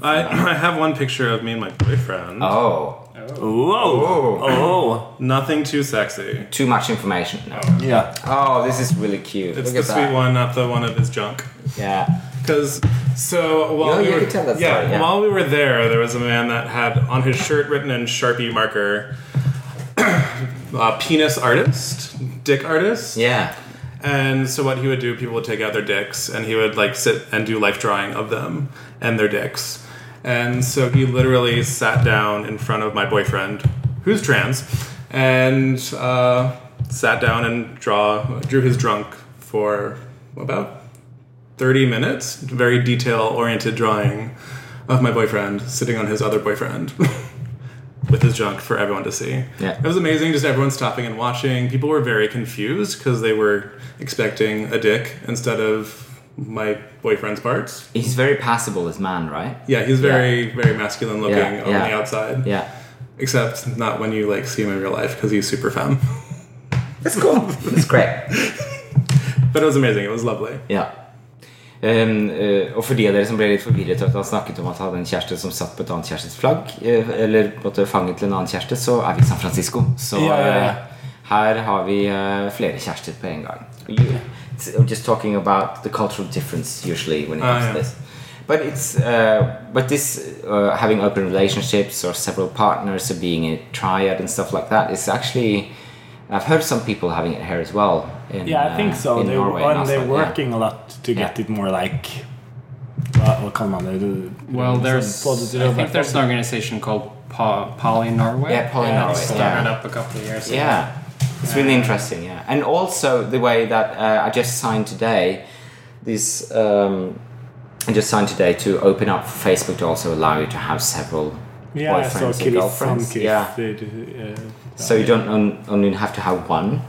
[SPEAKER 5] I, I have one picture of me and my boyfriend.
[SPEAKER 4] Oh,
[SPEAKER 3] Whoa! Oh!
[SPEAKER 5] Nothing too sexy.
[SPEAKER 4] too much information. No.
[SPEAKER 3] Ja.
[SPEAKER 4] Oh, this is really cute.
[SPEAKER 5] It's
[SPEAKER 4] Look
[SPEAKER 5] the
[SPEAKER 4] at that.
[SPEAKER 5] sweet one, not the one of his junk.
[SPEAKER 4] Yeah.
[SPEAKER 5] Because so while
[SPEAKER 4] Yeah,
[SPEAKER 5] we
[SPEAKER 4] you
[SPEAKER 5] were,
[SPEAKER 4] could tell that
[SPEAKER 5] yeah,
[SPEAKER 4] story, yeah.
[SPEAKER 5] while we were there, there was a man that had on his shirt written in sharpie marker, (clears throat) uh, "penis artist, dick artist."
[SPEAKER 4] Yeah.
[SPEAKER 5] And so what he would do, people would take out their dicks, and he would like sit and do life drawing of them and their dicks. And so he literally sat down in front of my boyfriend, who's trans, and uh, sat down and draw drew his drunk for about thirty minutes. Very detail oriented drawing of my boyfriend sitting on his other boyfriend. (laughs) With his junk for everyone to see.
[SPEAKER 4] Yeah.
[SPEAKER 5] It was amazing, just everyone stopping and watching. People were very confused because they were expecting a dick instead of my boyfriend's parts.
[SPEAKER 4] He's very passable, this man, right?
[SPEAKER 5] Yeah, he's very, very masculine looking
[SPEAKER 4] Yeah,
[SPEAKER 5] on
[SPEAKER 4] yeah.
[SPEAKER 5] the outside.
[SPEAKER 4] Yeah.
[SPEAKER 5] Except not when you like see him in real life because he's super femme. (laughs)
[SPEAKER 4] That's cool. That's great.
[SPEAKER 5] But it was amazing. It was lovely.
[SPEAKER 4] Ja. Ehm, eh, og for de av dere som ble litt forvirret av at han snakket om at han hadde en kjæreste som satt på et annet kjærestes flagg, eh, eller på en måte fanget til en annen kjæreste, så er vi i San Francisco. Så
[SPEAKER 5] Ja, ja, ja.
[SPEAKER 4] eh, her har vi eh, flere kjærester på en gang. It's- I'm just talking about the cultural difference usually when it
[SPEAKER 5] Ah,
[SPEAKER 4] comes to
[SPEAKER 5] ja.
[SPEAKER 4] this. But it's uh, but this uh, having open relationships or several partners or being a triad and stuff like that is actually I've heard some people having it here as well. In,
[SPEAKER 3] Yeah, I think
[SPEAKER 4] uh,
[SPEAKER 3] so.
[SPEAKER 4] in
[SPEAKER 3] They,
[SPEAKER 4] Norway
[SPEAKER 3] and
[SPEAKER 4] and
[SPEAKER 3] they're
[SPEAKER 4] Oslo, yeah.
[SPEAKER 3] working a lot to get
[SPEAKER 4] Yeah.
[SPEAKER 3] it more like hva, hva kaller man det? Du-
[SPEAKER 2] Well,
[SPEAKER 3] sånn
[SPEAKER 2] there's
[SPEAKER 3] positive-
[SPEAKER 2] I think there's an organization called po- Poly Norway.
[SPEAKER 4] Yeah, Poly
[SPEAKER 2] that
[SPEAKER 4] Norway,
[SPEAKER 2] started
[SPEAKER 4] yeah.
[SPEAKER 2] up a couple of years ago.
[SPEAKER 4] Yeah, it's really interesting. Yeah, and also the way that uh, I just signed today, this um, I just signed today to open up for Facebook to also allow you to have several
[SPEAKER 3] Yeah, I saw
[SPEAKER 4] boyfriends and
[SPEAKER 3] Chris-
[SPEAKER 4] girlfriends.
[SPEAKER 3] some Chris,
[SPEAKER 4] yeah,
[SPEAKER 3] did, uh,
[SPEAKER 4] so you don't on- only have to have one.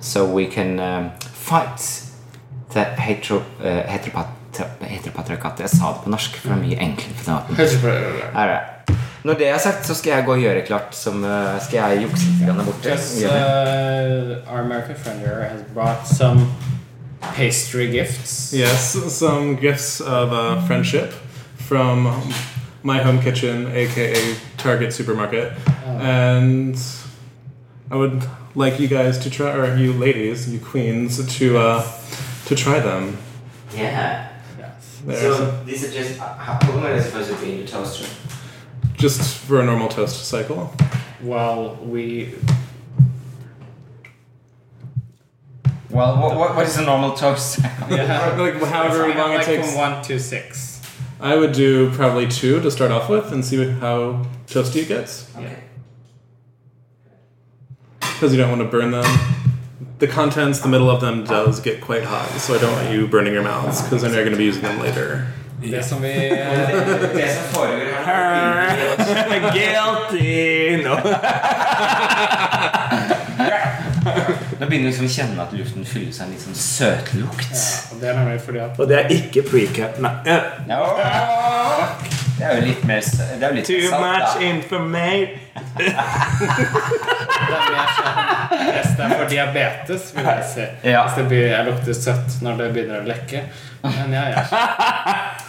[SPEAKER 4] So we can um, fight the hetero, uh, heteropatri- heteropatriarkatet. Jeg sa det på norsk, for det er mye enklere på den måten.
[SPEAKER 2] uh,
[SPEAKER 4] Her er det. Når det er sagt, så skal jeg gå og gjøre klart som eh, Skal jeg jukse litt grann der borte?
[SPEAKER 2] Because
[SPEAKER 4] Gjør det.
[SPEAKER 2] uh, our American friend here has brought some pastry gifts.
[SPEAKER 5] Yes, some gifts of uh, friendship from my home kitchen, aka Target supermarket,
[SPEAKER 2] Oh.
[SPEAKER 5] and I would like you guys to try, or you ladies, you queens, to uh, to try them.
[SPEAKER 4] Yeah.
[SPEAKER 5] There's-
[SPEAKER 4] So these are just uh, how how long are they supposed to be in the toaster?
[SPEAKER 5] just for a normal toast cycle.
[SPEAKER 2] While we
[SPEAKER 4] Well, what, what, what is a normal (laughs) toast?
[SPEAKER 5] Or, like however
[SPEAKER 2] It's
[SPEAKER 5] long
[SPEAKER 2] like
[SPEAKER 5] it takes.
[SPEAKER 2] from one to six.
[SPEAKER 5] I would do probably two to start off with and see how toasty it gets
[SPEAKER 4] okay.
[SPEAKER 5] because you don't want to burn them. The contents, the middle of them does get quite hot, so I don't want you burning your mouths because I know you're going to be using them later.
[SPEAKER 2] Det som (laughs) vi eh,
[SPEAKER 4] Det som foregår her
[SPEAKER 3] Guilty! No.
[SPEAKER 4] Nå begynner du liksom å kjenne at luften fyller seg en litt sånn søtlukt.
[SPEAKER 2] og Det er nemlig fordi at
[SPEAKER 3] Og det er ikke pre-cap. Nei. eh,
[SPEAKER 4] Ja. Det er jo litt mer s- Det er jo litt
[SPEAKER 3] Too
[SPEAKER 4] salt,
[SPEAKER 3] much
[SPEAKER 4] da.
[SPEAKER 3] information.
[SPEAKER 2] det er mer sånn- det er for diabetes, vil jeg si.
[SPEAKER 4] Ja.
[SPEAKER 2] Hvis det blir, jeg lukter søtt når det begynner å lekke. Men ja, ja.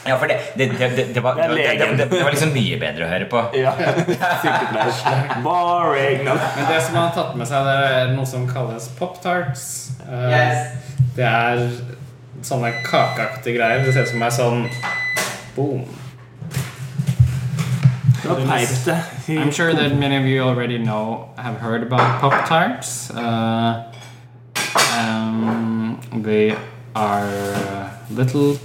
[SPEAKER 4] Ja, for det, det, det, det, det, var,
[SPEAKER 3] Det
[SPEAKER 4] det,
[SPEAKER 3] er
[SPEAKER 4] det,
[SPEAKER 3] legen.
[SPEAKER 4] det, det var liksom mye bedre å høre på.
[SPEAKER 3] (laughs) Ja. Boring. No.
[SPEAKER 2] Men det som han har tatt med seg, det er noe som kalles pop-tarts. Eh,
[SPEAKER 4] Yes.
[SPEAKER 2] Det er sånne kakeaktige greier. Det ser ut som er sånn boom.
[SPEAKER 3] Nå peip det.
[SPEAKER 2] I'm sure that many of you already know, have heard about Pop Tarts. Uh, um, they are little,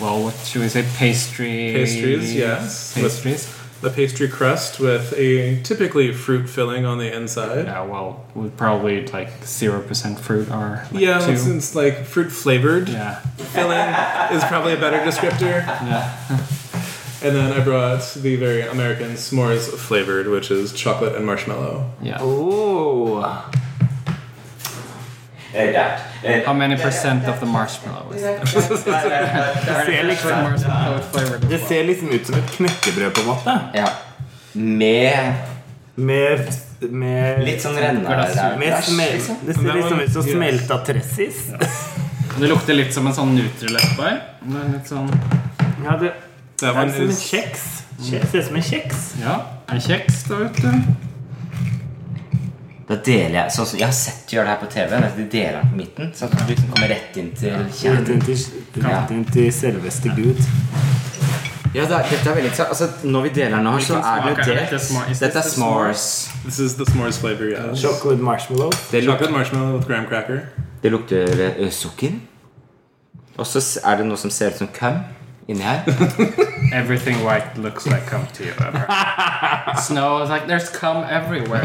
[SPEAKER 2] well, what should we say, pastry?
[SPEAKER 5] Pastries, yes.
[SPEAKER 2] Pastries.
[SPEAKER 5] A pastry crust with a typically fruit filling on the inside.
[SPEAKER 2] Yeah, well, with probably like zero percent fruit or like
[SPEAKER 5] Yeah,
[SPEAKER 2] two.
[SPEAKER 5] since like fruit flavored
[SPEAKER 2] yeah,
[SPEAKER 5] filling is probably a better descriptor.
[SPEAKER 2] yeah. (laughs)
[SPEAKER 5] And then I brought the very American s'mores flavored, which is chocolate and marshmallow.
[SPEAKER 2] yeah.
[SPEAKER 3] Oh.
[SPEAKER 4] Eh, der. Eh,
[SPEAKER 2] How many percent of the marshmallow is there?
[SPEAKER 4] der, der, der, der.
[SPEAKER 3] ser liksom-
[SPEAKER 2] Marshmallow flavored as
[SPEAKER 3] Det
[SPEAKER 2] well.
[SPEAKER 3] ser liksom ut som et knekkebrød, på en måte.
[SPEAKER 4] Ja. Med
[SPEAKER 3] Med, med
[SPEAKER 4] litt sånn renneræsj.
[SPEAKER 3] med smel,
[SPEAKER 4] liksom.
[SPEAKER 3] Det ser
[SPEAKER 5] Men
[SPEAKER 3] litt
[SPEAKER 5] det
[SPEAKER 3] som
[SPEAKER 5] var-
[SPEAKER 3] ut som
[SPEAKER 5] yes.
[SPEAKER 3] smelta tressis.
[SPEAKER 2] Det lukter litt som en sånn Nutrilett-bar. Det er Litt sånn
[SPEAKER 3] Ja, det
[SPEAKER 5] That
[SPEAKER 3] er
[SPEAKER 5] one
[SPEAKER 3] som en
[SPEAKER 5] is
[SPEAKER 3] kjeks. Kjeks- Ser ut som en kjeks.
[SPEAKER 2] Ja, en kjeks der ute.
[SPEAKER 4] Da deler jeg sånn som Jeg har sett de gjør det her på TV. at De deler den på midten. Sånn at du liksom kommer rett inn til
[SPEAKER 3] Rett
[SPEAKER 4] kjernen.
[SPEAKER 3] inn til, rett inn til selveste Gud.
[SPEAKER 4] Ja, da, dette er veldig interessant. Altså, når vi deler den her, så
[SPEAKER 2] Hvilken
[SPEAKER 4] er
[SPEAKER 2] smak er
[SPEAKER 4] det
[SPEAKER 2] det? Dette er
[SPEAKER 4] jo
[SPEAKER 2] små-
[SPEAKER 4] det
[SPEAKER 2] is
[SPEAKER 4] Dette er
[SPEAKER 2] this the s'mores?
[SPEAKER 4] s'mores.
[SPEAKER 5] This is the s'mores flavor, yeah.
[SPEAKER 3] Chocolate marshmallows.
[SPEAKER 4] Det, luk,
[SPEAKER 5] Chocolate marshmallow with graham cracker.
[SPEAKER 4] det lukter ø, sukker. Og så s- er det noe som ser ut som cum inni her.
[SPEAKER 2] Everything white looks like cum to you ever. (laughs) Snow is like there's cum everywhere.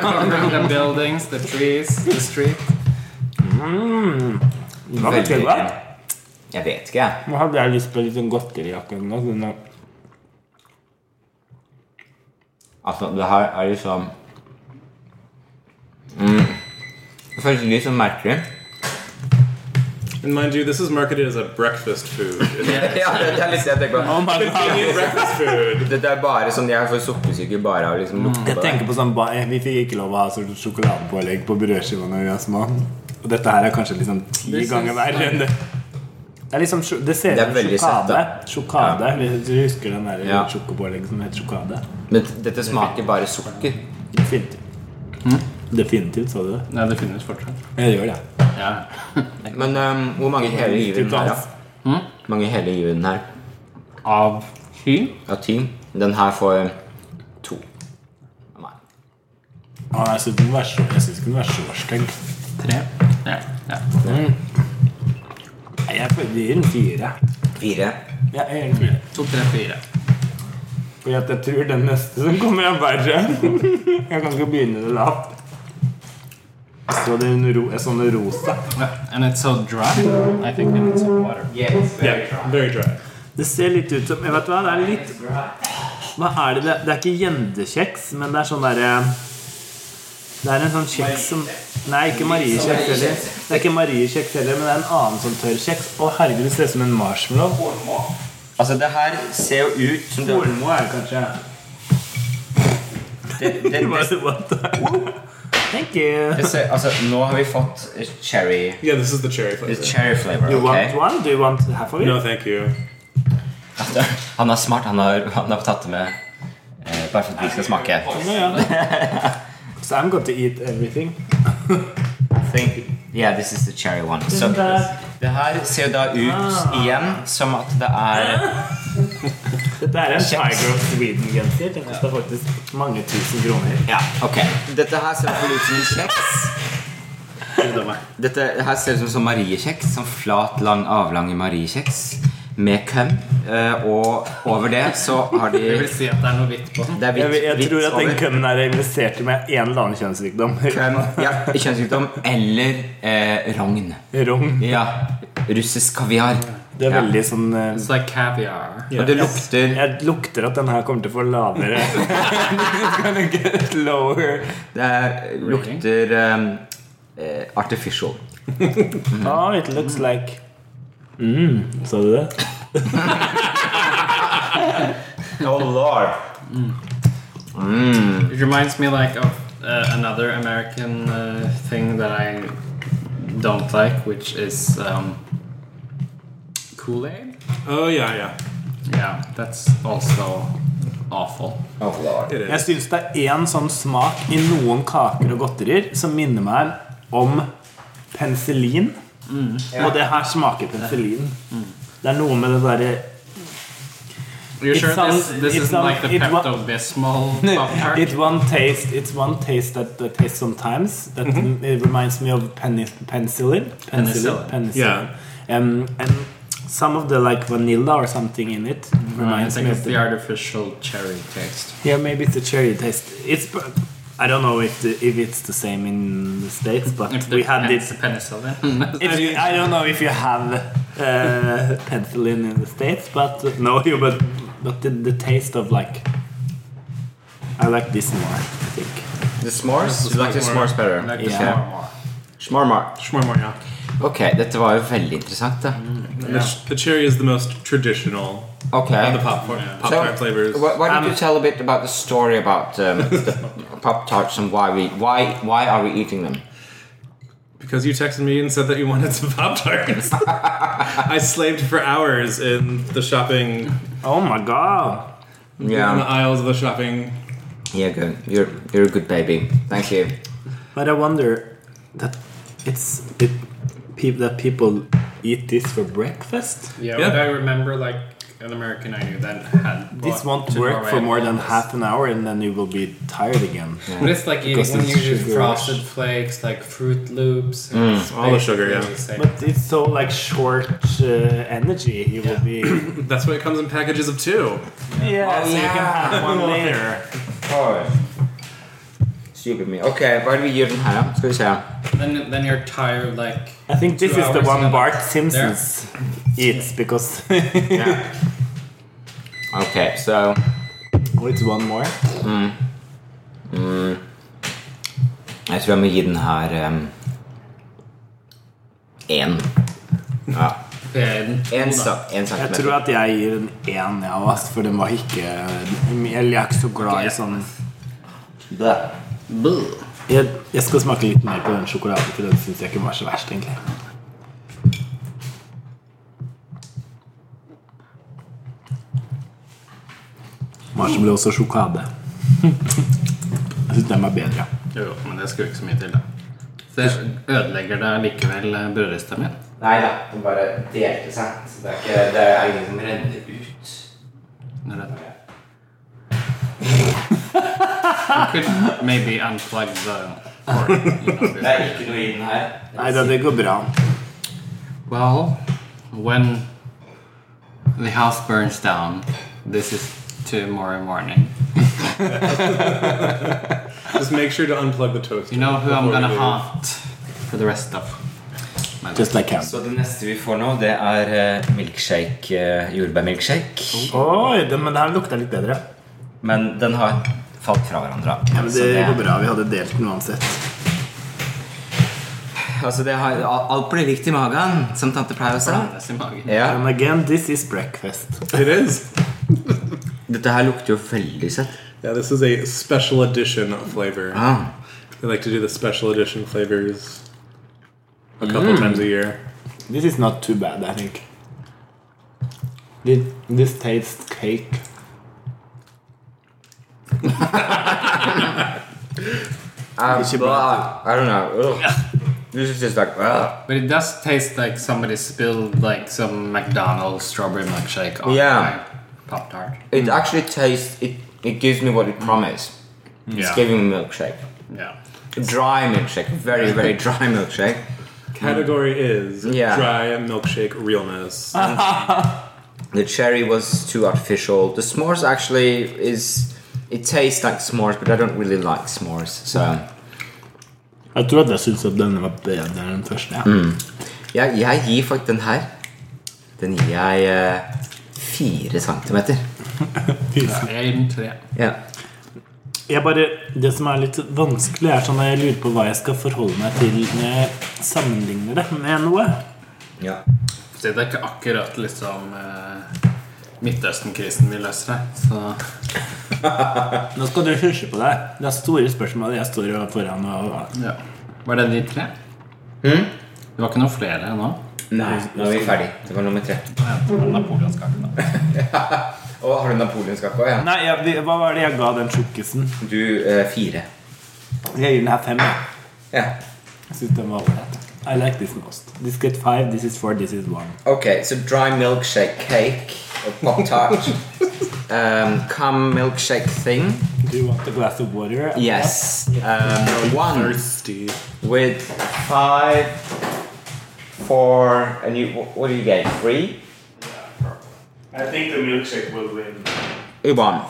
[SPEAKER 2] Covering the buildings, the trees, the street.
[SPEAKER 3] Det var ganske bra.
[SPEAKER 4] Jeg vet ikke, jeg.
[SPEAKER 3] Nå hadde jeg lyst på litt sånn godteri akkurat nå. sånn at-
[SPEAKER 4] Altså, det her er liksom mm, Det føles litt sånn merkelig.
[SPEAKER 5] And mind you, this is marketed as a breakfast food. It's
[SPEAKER 4] Ja, det er litt det jeg tenker på.
[SPEAKER 5] convenient breakfast food.
[SPEAKER 4] Dette er bare sånn Jeg får sukkersyke bare av å liksom lukte
[SPEAKER 3] Jeg tenker på sånn ba- Vi fikk ikke lov å ha sånn sjokoladepålegg på brødskiva når vi var små. Og dette her er kanskje liksom ti
[SPEAKER 2] Det
[SPEAKER 3] ganger
[SPEAKER 2] syns
[SPEAKER 3] verre enn det. Det er liksom sjo- Det ser ut
[SPEAKER 4] Det er
[SPEAKER 3] som
[SPEAKER 4] veldig søtt, da.
[SPEAKER 3] sjokade. Sjokade. Hvis Du husker den der
[SPEAKER 4] Ja.
[SPEAKER 3] sjokopålegget som het sjokade?
[SPEAKER 4] Men dette smaker bare sukker.
[SPEAKER 3] Definitivt. Definitivt, sa du det?
[SPEAKER 2] Nei, det finnes fortsatt.
[SPEAKER 3] Jeg gjør det.
[SPEAKER 2] Ja.
[SPEAKER 4] Men øhm, hvor mange hele gir den her, da? Hvor mange hele gir den her?
[SPEAKER 2] Av sky.
[SPEAKER 4] Ja, ti. Den her får to. Nei.
[SPEAKER 3] Å, jeg syns den var så Jeg synes ikke den var så stygg.
[SPEAKER 2] Tre. Ja. ja.
[SPEAKER 4] Mm.
[SPEAKER 3] Nei, Jeg føler- jeg gir den fire.
[SPEAKER 4] Fire.
[SPEAKER 3] Ja, jeg gir den fire.
[SPEAKER 2] To, tre, fire.
[SPEAKER 3] Fordi at jeg tror den neste som kommer er verre. jeg kan ikke begynne det lavt. Så det er en ro, en sånn rosa.
[SPEAKER 2] Yeah. Ah, And it's so dry. I think it needs some water.
[SPEAKER 5] Yeah, very dry.
[SPEAKER 3] Det ser litt ut som jeg vet hva, det er litt Hva er det? det er- Det er ikke gjendekjeks, men det er sånn derre Det er en sånn kjeks som Nei, ikke mariekjeks heller. Det er ikke mariekjeks heller, men det er en annen sånn tørr kjeks. Å herregud, det ser ut som en marshmallow.
[SPEAKER 4] Altså, det her ser jo ut som det,
[SPEAKER 3] Hornmo er det kanskje.
[SPEAKER 4] det, det,
[SPEAKER 3] (laughs)
[SPEAKER 4] det,
[SPEAKER 3] What the- Thank you.
[SPEAKER 4] det ser, Altså, nå har vi fått cherry
[SPEAKER 5] Yeah, this is the cherry
[SPEAKER 4] det er
[SPEAKER 5] flavor.
[SPEAKER 4] Cherry flavor,
[SPEAKER 3] You want
[SPEAKER 4] ok?
[SPEAKER 3] one? Do you want half of it?
[SPEAKER 5] No, thank you.
[SPEAKER 4] Han er smart. Han har, han har tatt det med eh, bare for at vi skal smake.
[SPEAKER 3] Yeah, yeah.
[SPEAKER 4] (laughs)
[SPEAKER 3] so I'm going to eat everything.
[SPEAKER 4] I think, yeah, this is the cherry one. Så
[SPEAKER 3] Isn't that-
[SPEAKER 4] det her ser jo da ut igjen som at det er
[SPEAKER 3] Dette er en
[SPEAKER 4] Kjeks.
[SPEAKER 3] Tiger of Sweden-genser. Den koster faktisk mange tusen kroner.
[SPEAKER 4] Ja, ok Dette her ser i hvert fall ut som en kjeks Dette her ser ut som sånn mariekjeks Sånn flat, lang, avlang mariekjeks Med køm eh, Og over det så har de
[SPEAKER 2] Det vil si at det er noe hvitt på den.
[SPEAKER 4] Det er
[SPEAKER 3] Jeg,
[SPEAKER 4] hvitt,
[SPEAKER 3] jeg
[SPEAKER 4] hvitt
[SPEAKER 3] tror at den
[SPEAKER 4] over
[SPEAKER 3] kømmen er investert i med en eller annen kjønnssykdom. (laughs)
[SPEAKER 4] Køm, ja, kjønnssykdom Eller eh, rogn
[SPEAKER 3] Rogn.
[SPEAKER 4] Ja, russisk kaviar
[SPEAKER 3] Det er
[SPEAKER 4] Ja.
[SPEAKER 3] veldig sånn eh,
[SPEAKER 2] It's like caviar.
[SPEAKER 4] Og det lukter
[SPEAKER 3] Jeg lukter at den her kommer til å få lavere It's
[SPEAKER 4] (laughs)
[SPEAKER 3] gonna get lower.
[SPEAKER 4] Det er- lukter eh, Artificial
[SPEAKER 3] Oh, it looks like mm, Sa du det?
[SPEAKER 4] Oh lord
[SPEAKER 2] It reminds me like of uh, another American uh, thing that I don't like, which is um, Kool Aid.
[SPEAKER 5] Oh yeah, yeah.
[SPEAKER 2] Yeah, that's also awful.
[SPEAKER 4] Oh lord
[SPEAKER 5] It
[SPEAKER 3] Jeg
[SPEAKER 5] is.
[SPEAKER 3] syns det er én sånn smak i noen kaker og godterier som minner meg om penicillin. Og det her smaker penicillin. Det er noe med det derre
[SPEAKER 2] Are you
[SPEAKER 3] It
[SPEAKER 2] sure
[SPEAKER 3] sounds-
[SPEAKER 2] this, this
[SPEAKER 3] it
[SPEAKER 2] isn't
[SPEAKER 3] sounds-
[SPEAKER 2] like the
[SPEAKER 3] it wa-
[SPEAKER 2] Pepto Bismol
[SPEAKER 3] (laughs)
[SPEAKER 2] Pop
[SPEAKER 3] It's
[SPEAKER 2] Tart?
[SPEAKER 3] one taste It's one taste that that tastes sometimes. That it reminds me of peni- penicillin.
[SPEAKER 2] Mhm. Penicillin.
[SPEAKER 3] penicillin. Um, and some of the like vanilla or something in it
[SPEAKER 2] Mm. I
[SPEAKER 3] reminds
[SPEAKER 2] think
[SPEAKER 3] me
[SPEAKER 2] it's
[SPEAKER 3] of
[SPEAKER 2] the
[SPEAKER 3] the,
[SPEAKER 2] artificial cherry taste.
[SPEAKER 3] yeah maybe it's a cherry taste. It's pr- I don't know if the, if it's the same in the states, but
[SPEAKER 2] If the
[SPEAKER 3] we had
[SPEAKER 2] pen-
[SPEAKER 3] it Hmm.
[SPEAKER 2] the penicillin.
[SPEAKER 3] If you, I don't know if you have uh, penicillin in the states, but uh, no, you but but the, the taste of like I like this more. I think
[SPEAKER 4] The s'mores? You like the s'mores better?
[SPEAKER 2] like
[SPEAKER 3] Yeah.
[SPEAKER 2] the small one.
[SPEAKER 4] S'mormor
[SPEAKER 5] Shmormor, yeah.
[SPEAKER 4] Ok, dette var jo veldig interessant, da.
[SPEAKER 5] And the, the cherry is the most traditional of the
[SPEAKER 4] Ok.
[SPEAKER 5] popcorn
[SPEAKER 4] So,
[SPEAKER 5] popcorn flavors.
[SPEAKER 4] wh- why don't
[SPEAKER 5] Um,
[SPEAKER 4] you tell a bit about the story about um, the Pop Tarts and why we why why are we eating them?
[SPEAKER 5] Because you texted me and said that you wanted some Pop
[SPEAKER 2] (laughs)
[SPEAKER 5] Tarts. I slaved for hours in the shopping,
[SPEAKER 3] Oh my god.
[SPEAKER 5] on the
[SPEAKER 4] Yeah,
[SPEAKER 5] aisles of the shopping.
[SPEAKER 4] yeah, good. You're you're a good baby. Thank you.
[SPEAKER 3] But I wonder that it's it, peop, that people eat this for breakfast.
[SPEAKER 2] Yeah,
[SPEAKER 5] Yeah.
[SPEAKER 2] but I remember like an American I knew that had bought
[SPEAKER 3] This won't
[SPEAKER 2] to
[SPEAKER 3] work
[SPEAKER 2] Norway
[SPEAKER 3] for
[SPEAKER 2] and
[SPEAKER 3] more
[SPEAKER 2] all
[SPEAKER 3] than
[SPEAKER 2] this.
[SPEAKER 3] half an hour, and then you will be tired again.
[SPEAKER 2] But it's like eating
[SPEAKER 3] Because
[SPEAKER 2] when
[SPEAKER 3] it's
[SPEAKER 2] you use
[SPEAKER 3] sugar rush.
[SPEAKER 2] frosted flakes, like Fruit Loops, and it's
[SPEAKER 5] All the sugar,
[SPEAKER 2] basically
[SPEAKER 5] yeah.
[SPEAKER 2] Hmm. the same.
[SPEAKER 3] But it's so like short uh, energy. You will be
[SPEAKER 5] That's why it comes in packages of two.
[SPEAKER 3] (coughs) yeah.
[SPEAKER 4] Oh,
[SPEAKER 3] so you can
[SPEAKER 4] yeah.
[SPEAKER 3] have one later.
[SPEAKER 4] Oi. Stupid me. Ok, hva er det vi gir den her, da? Skal vi se.
[SPEAKER 2] Then, then you're tired, like
[SPEAKER 3] I think this
[SPEAKER 2] Two
[SPEAKER 3] is the
[SPEAKER 2] hours
[SPEAKER 3] one
[SPEAKER 2] and
[SPEAKER 3] Bart
[SPEAKER 2] then-
[SPEAKER 3] Simpsons eats because (laughs)
[SPEAKER 4] Yeah. Ok, so
[SPEAKER 3] oh, it's one more.
[SPEAKER 4] Jeg tror jeg må gi den her um, én. Ja.
[SPEAKER 2] bed.
[SPEAKER 4] Én sak- én
[SPEAKER 3] Jeg tror
[SPEAKER 4] centimeter.
[SPEAKER 3] at jeg gir en én, jeg ja, for den var ikke Eller jeg er ikke så glad i sånn
[SPEAKER 4] Blæ.
[SPEAKER 3] jeg, jeg skal smake litt mer på den sjokoladen, for den syns jeg ikke var så verst, egentlig. Marshmallow ble også sjokolade. Jeg syns den var bedre.
[SPEAKER 2] Jo, jo, men det skulle ikke så mye til, da. Så jeg ødelegger det likevel eh, brødristen min.
[SPEAKER 4] Nei da, den bare delte seg. Så det er, ikke, det er ingen som renner ut.
[SPEAKER 2] Når det- You could maybe unplug the cord, you know,
[SPEAKER 4] Det er
[SPEAKER 2] before-
[SPEAKER 4] ikke noe i den her.
[SPEAKER 3] Nei da, det går bra.
[SPEAKER 2] Well, when the house burns down, this is tomorrow morning.
[SPEAKER 5] Just make sure to unplug the toaster.
[SPEAKER 2] You know who I'm
[SPEAKER 5] before
[SPEAKER 2] gonna
[SPEAKER 5] you leave.
[SPEAKER 2] haunt for the rest of my life.
[SPEAKER 3] Just like ham.
[SPEAKER 4] Så det neste vi får nå, det er eh, milkshake, eh, jordbærmilkshake.
[SPEAKER 3] Oi, den, men den her lukta litt bedre.
[SPEAKER 4] Men den har falt fra hverandre.
[SPEAKER 3] Ja, men
[SPEAKER 4] Så
[SPEAKER 3] det går bra. Vi hadde delt den uansett.
[SPEAKER 4] Altså det har, alt blir likt i magen, som tante pleier å si.
[SPEAKER 2] Alles i magen.
[SPEAKER 4] Ja.
[SPEAKER 3] And again, this is breakfast.
[SPEAKER 5] It is.
[SPEAKER 4] Dette her lukter jo veldig søtt.
[SPEAKER 5] Yeah, this is a special edition flavor.
[SPEAKER 4] Ah.
[SPEAKER 5] They like to do the special edition flavors a
[SPEAKER 4] Mm.
[SPEAKER 5] couple times a year.
[SPEAKER 3] This is not too bad, I think. This, this tastes cake.
[SPEAKER 4] Um,
[SPEAKER 3] Ikke
[SPEAKER 4] blah. I don't know. Ugh. This is just like ugh.
[SPEAKER 2] But it does taste like somebody spilled like some McDonald's strawberry milkshake on
[SPEAKER 4] Yeah.
[SPEAKER 2] my Pop Tart.
[SPEAKER 3] Mm.
[SPEAKER 4] It actually tastes. It it gives me what it promised. It's
[SPEAKER 2] Yeah.
[SPEAKER 4] giving me milkshake.
[SPEAKER 2] Yeah.
[SPEAKER 4] Dry milkshake. Very
[SPEAKER 2] (laughs)
[SPEAKER 4] very dry milkshake.
[SPEAKER 5] Category is
[SPEAKER 4] Mm. Yeah. Ah.
[SPEAKER 5] dry milkshake realness.
[SPEAKER 4] The cherry was too artificial. The s'mores actually is. It tastes like s'mores, but I don't really like s'mores.
[SPEAKER 2] Mm.
[SPEAKER 4] So
[SPEAKER 3] Jeg tror at jeg syns at denne var bedre enn den første. Ja.
[SPEAKER 4] jeg, jeg gir faktisk den her. Den gir jeg eh, fire centimeter.
[SPEAKER 2] Én, tre.
[SPEAKER 4] Ja.
[SPEAKER 3] Jeg bare, det som er litt vanskelig, er sånn at jeg lurer på hva jeg skal forholde meg til når jeg sammenligner det med noe.
[SPEAKER 4] ja.
[SPEAKER 2] Så det er ikke akkurat liksom eh, Midtøsten-krisen vi løser her. Så
[SPEAKER 3] Nå skal du hysje på deg. Det er store spørsmål jeg står jo foran. Og,
[SPEAKER 2] ja. Var det de tre? Det var ikke noen flere nå?
[SPEAKER 4] Nei, nå er vi ferdig. Det var nummer tre.
[SPEAKER 2] (laughs) Ja, det var Napoleonskake, da.
[SPEAKER 4] (laughs) Å, har du napoleonskake òg? Ja.
[SPEAKER 3] nei, jeg, vi- hva var det jeg ga den tjukkisen?
[SPEAKER 4] Du eh, fire.
[SPEAKER 3] Jeg gir den her fem. jeg.
[SPEAKER 4] Ja.
[SPEAKER 3] Jeg syns den var ålreit. I like this most. This get five, this is four, this is one.
[SPEAKER 4] Okay, so dry milkshake cake or pop tart, um, cum milkshake thing.
[SPEAKER 3] Do you want a glass of water?
[SPEAKER 4] Yes, um, one
[SPEAKER 5] Thirsty.
[SPEAKER 4] with five, four, and you. wh- What do you get? Three.
[SPEAKER 3] I think the milkshake will win.
[SPEAKER 4] You won.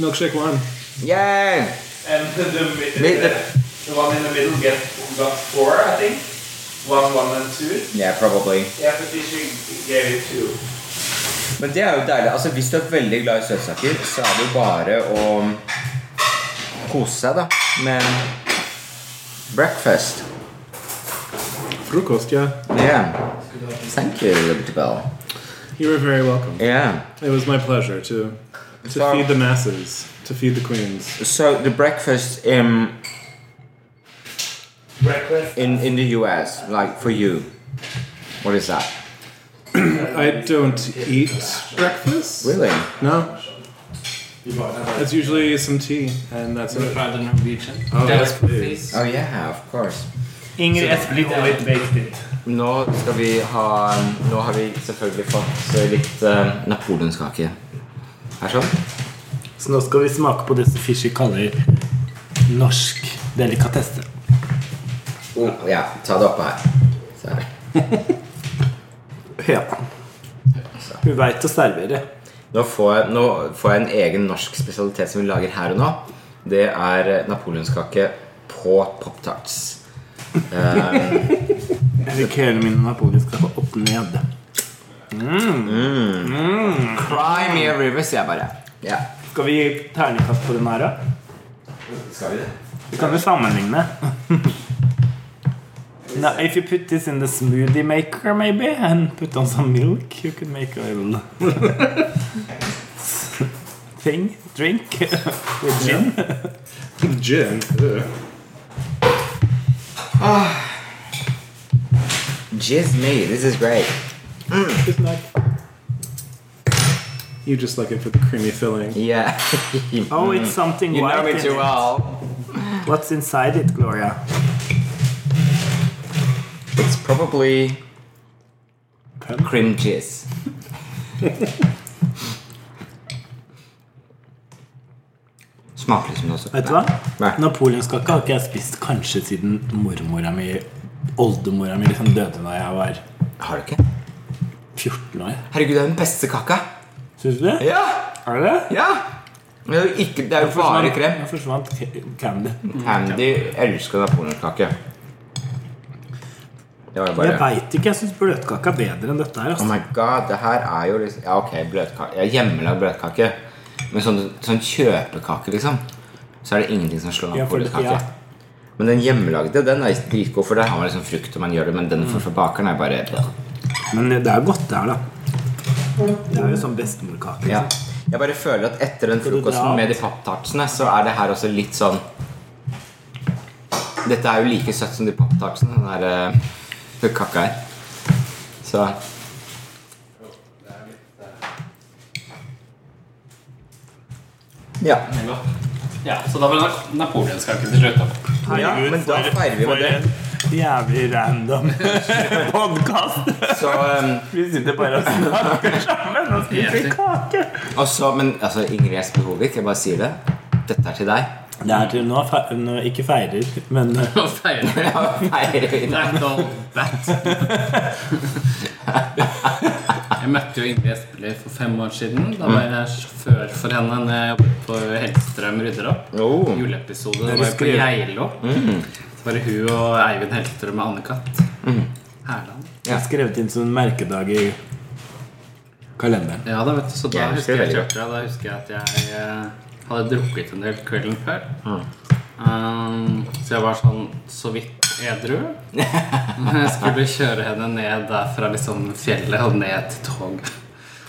[SPEAKER 5] Milkshake one.
[SPEAKER 4] Yay!
[SPEAKER 3] And the,
[SPEAKER 4] Mi- the-
[SPEAKER 3] one in the middle get, got four, I think. One, one and two.
[SPEAKER 4] Yeah, probably.
[SPEAKER 3] Yeah, but this you gave it two.
[SPEAKER 4] Men det er jo deilig. Altså, Hvis du er veldig glad i søtsaker, så er det jo bare å kose seg, da. Med breakfast.
[SPEAKER 5] Frukost, yeah.
[SPEAKER 4] Yeah. Thank you, Liberty Bell.
[SPEAKER 5] You were very welcome.
[SPEAKER 4] Yeah.
[SPEAKER 5] It was my pleasure to to
[SPEAKER 4] So-
[SPEAKER 5] feed the masses, to feed the queens.
[SPEAKER 4] So the breakfast in
[SPEAKER 3] Breakfast.
[SPEAKER 4] in, in the US, like for you, what is that?
[SPEAKER 5] I don't eat breakfast.
[SPEAKER 4] Really?
[SPEAKER 5] No. It's usually some tea, and that's it.
[SPEAKER 2] Fra The Norwegian.
[SPEAKER 5] Oh,
[SPEAKER 2] Deres
[SPEAKER 5] yes,
[SPEAKER 2] profis.
[SPEAKER 4] Oh yeah, of course.
[SPEAKER 3] Ingrid Espelid og litt baked in.
[SPEAKER 4] Nå skal vi ha Nå har vi selvfølgelig fått litt eh, napoleonskake. Her sånn.
[SPEAKER 3] Så nå skal vi smake på det som Fishy kaller norsk delikatesse.
[SPEAKER 4] Oh, ja, ta det oppå her. Så her.
[SPEAKER 3] Ja. Hun veit å servere.
[SPEAKER 4] Nå får, jeg, nå får jeg en egen norsk spesialitet som vi lager her og nå. Det er eh, napoleonskake på Pop-Tarts.
[SPEAKER 3] Jeg fikk hele min napoliskaffe opp ned.
[SPEAKER 4] Cry me a river, sier jeg bare. Ja.
[SPEAKER 3] Skal vi gi terningkast på den her, da?
[SPEAKER 4] Skal vi det?
[SPEAKER 3] Vi kan jo sammenligne. Now, if you put this in the smoothie maker, maybe, and put on some milk, you could make a little thing, drink, with gin.
[SPEAKER 5] Gin. Ugh.
[SPEAKER 4] Jizz me, this is great.
[SPEAKER 3] It's not-
[SPEAKER 5] You just like it for the creamy filling.
[SPEAKER 4] Yeah. (laughs)
[SPEAKER 3] Oh, it's something
[SPEAKER 4] you know
[SPEAKER 3] white
[SPEAKER 4] me
[SPEAKER 3] in
[SPEAKER 4] too
[SPEAKER 3] it.
[SPEAKER 4] well.
[SPEAKER 3] What's inside it, Gloria?
[SPEAKER 4] It's probably cream (laughs) jizz. Smaker liksom noe sånt.
[SPEAKER 3] Vet du hva?
[SPEAKER 4] Nei.
[SPEAKER 3] Napoleonskake har ikke jeg spist kanskje siden mormora mi Oldemora mi liksom døde da jeg var
[SPEAKER 4] Har du ikke?
[SPEAKER 3] 14 år.
[SPEAKER 4] Herregud, det er den beste kaka.
[SPEAKER 3] Syns du det?
[SPEAKER 4] Ja!
[SPEAKER 3] Er det det?
[SPEAKER 4] Ja! Det er jo, ikke, det er Mm. jo bare krem.
[SPEAKER 3] Nå forsvant k- candy.
[SPEAKER 4] Handy elsker napoleonskake. Det var jo
[SPEAKER 3] Jeg
[SPEAKER 4] bare
[SPEAKER 3] veit ikke. Jeg syns bløtkake er bedre enn dette her.
[SPEAKER 4] Oh
[SPEAKER 3] Altså.
[SPEAKER 4] my god, det her er jo liksom Ja, ok, bløtkake. Ja, hjemmelagd bløtkake. Men sånn, sånn kjøpekake, liksom, så er det ingenting som slår
[SPEAKER 3] Ja, for-
[SPEAKER 4] napoleonskake.
[SPEAKER 3] ja.
[SPEAKER 4] Men den hjemmelagde, den er dritgod, for der har man liksom frukt, og man gjør det, men den for fra bakeren er bare
[SPEAKER 3] Men det er jo godt, det her, da. Det er jo sånn bestemorkake.
[SPEAKER 4] Ja. Jeg bare føler at etter den
[SPEAKER 3] du dra
[SPEAKER 4] frokosten
[SPEAKER 3] alt?
[SPEAKER 4] med de papptartsene, så er det her også litt sånn Dette er jo like søtt som de papptartsene, den der eh, kakka her. Så Ja.
[SPEAKER 2] Ja, så da var det napoleonskake til slutt. da.
[SPEAKER 4] ja. Men da feirer vi med det.
[SPEAKER 3] en jævlig random (laughs) podkast.
[SPEAKER 4] Så, eh,
[SPEAKER 3] Vi sitter bare og snakker sammen og spiser kake.
[SPEAKER 4] og så- men altså, Ingrid Espen Hovig, jeg bare sier det. Dette er til deg. (laughs)
[SPEAKER 3] Det er til nå, fe- nå ikke feirer, men eh,
[SPEAKER 2] Og feirer.
[SPEAKER 4] Ja, feirer vi det.
[SPEAKER 2] Black Doll Bat. Jeg møtte jo Ingrid Espelid for fem år siden. Da var jeg sjåfør for henne når jeg jobbet på Hellstrøm rydder opp.
[SPEAKER 4] Oh.
[SPEAKER 2] Juleepisode
[SPEAKER 3] du
[SPEAKER 2] var jeg på
[SPEAKER 3] skrev-
[SPEAKER 2] Geilo. Så var det hun og Eivind Hellstrøm og Anne-Kat. Herland.
[SPEAKER 3] Jeg skrev det inn som en merkedag i kalenderen.
[SPEAKER 2] Ja, da vet du, så da
[SPEAKER 4] Jeg
[SPEAKER 2] husker jeg
[SPEAKER 4] husker det veldig
[SPEAKER 2] kjøpte det. Da husker jeg at jeg eh, hadde drukket en del kvelden før. Um, så jeg var sånn så vidt edru. Men jeg skulle kjøre henne ned der fra liksom fjellet og ned til tog.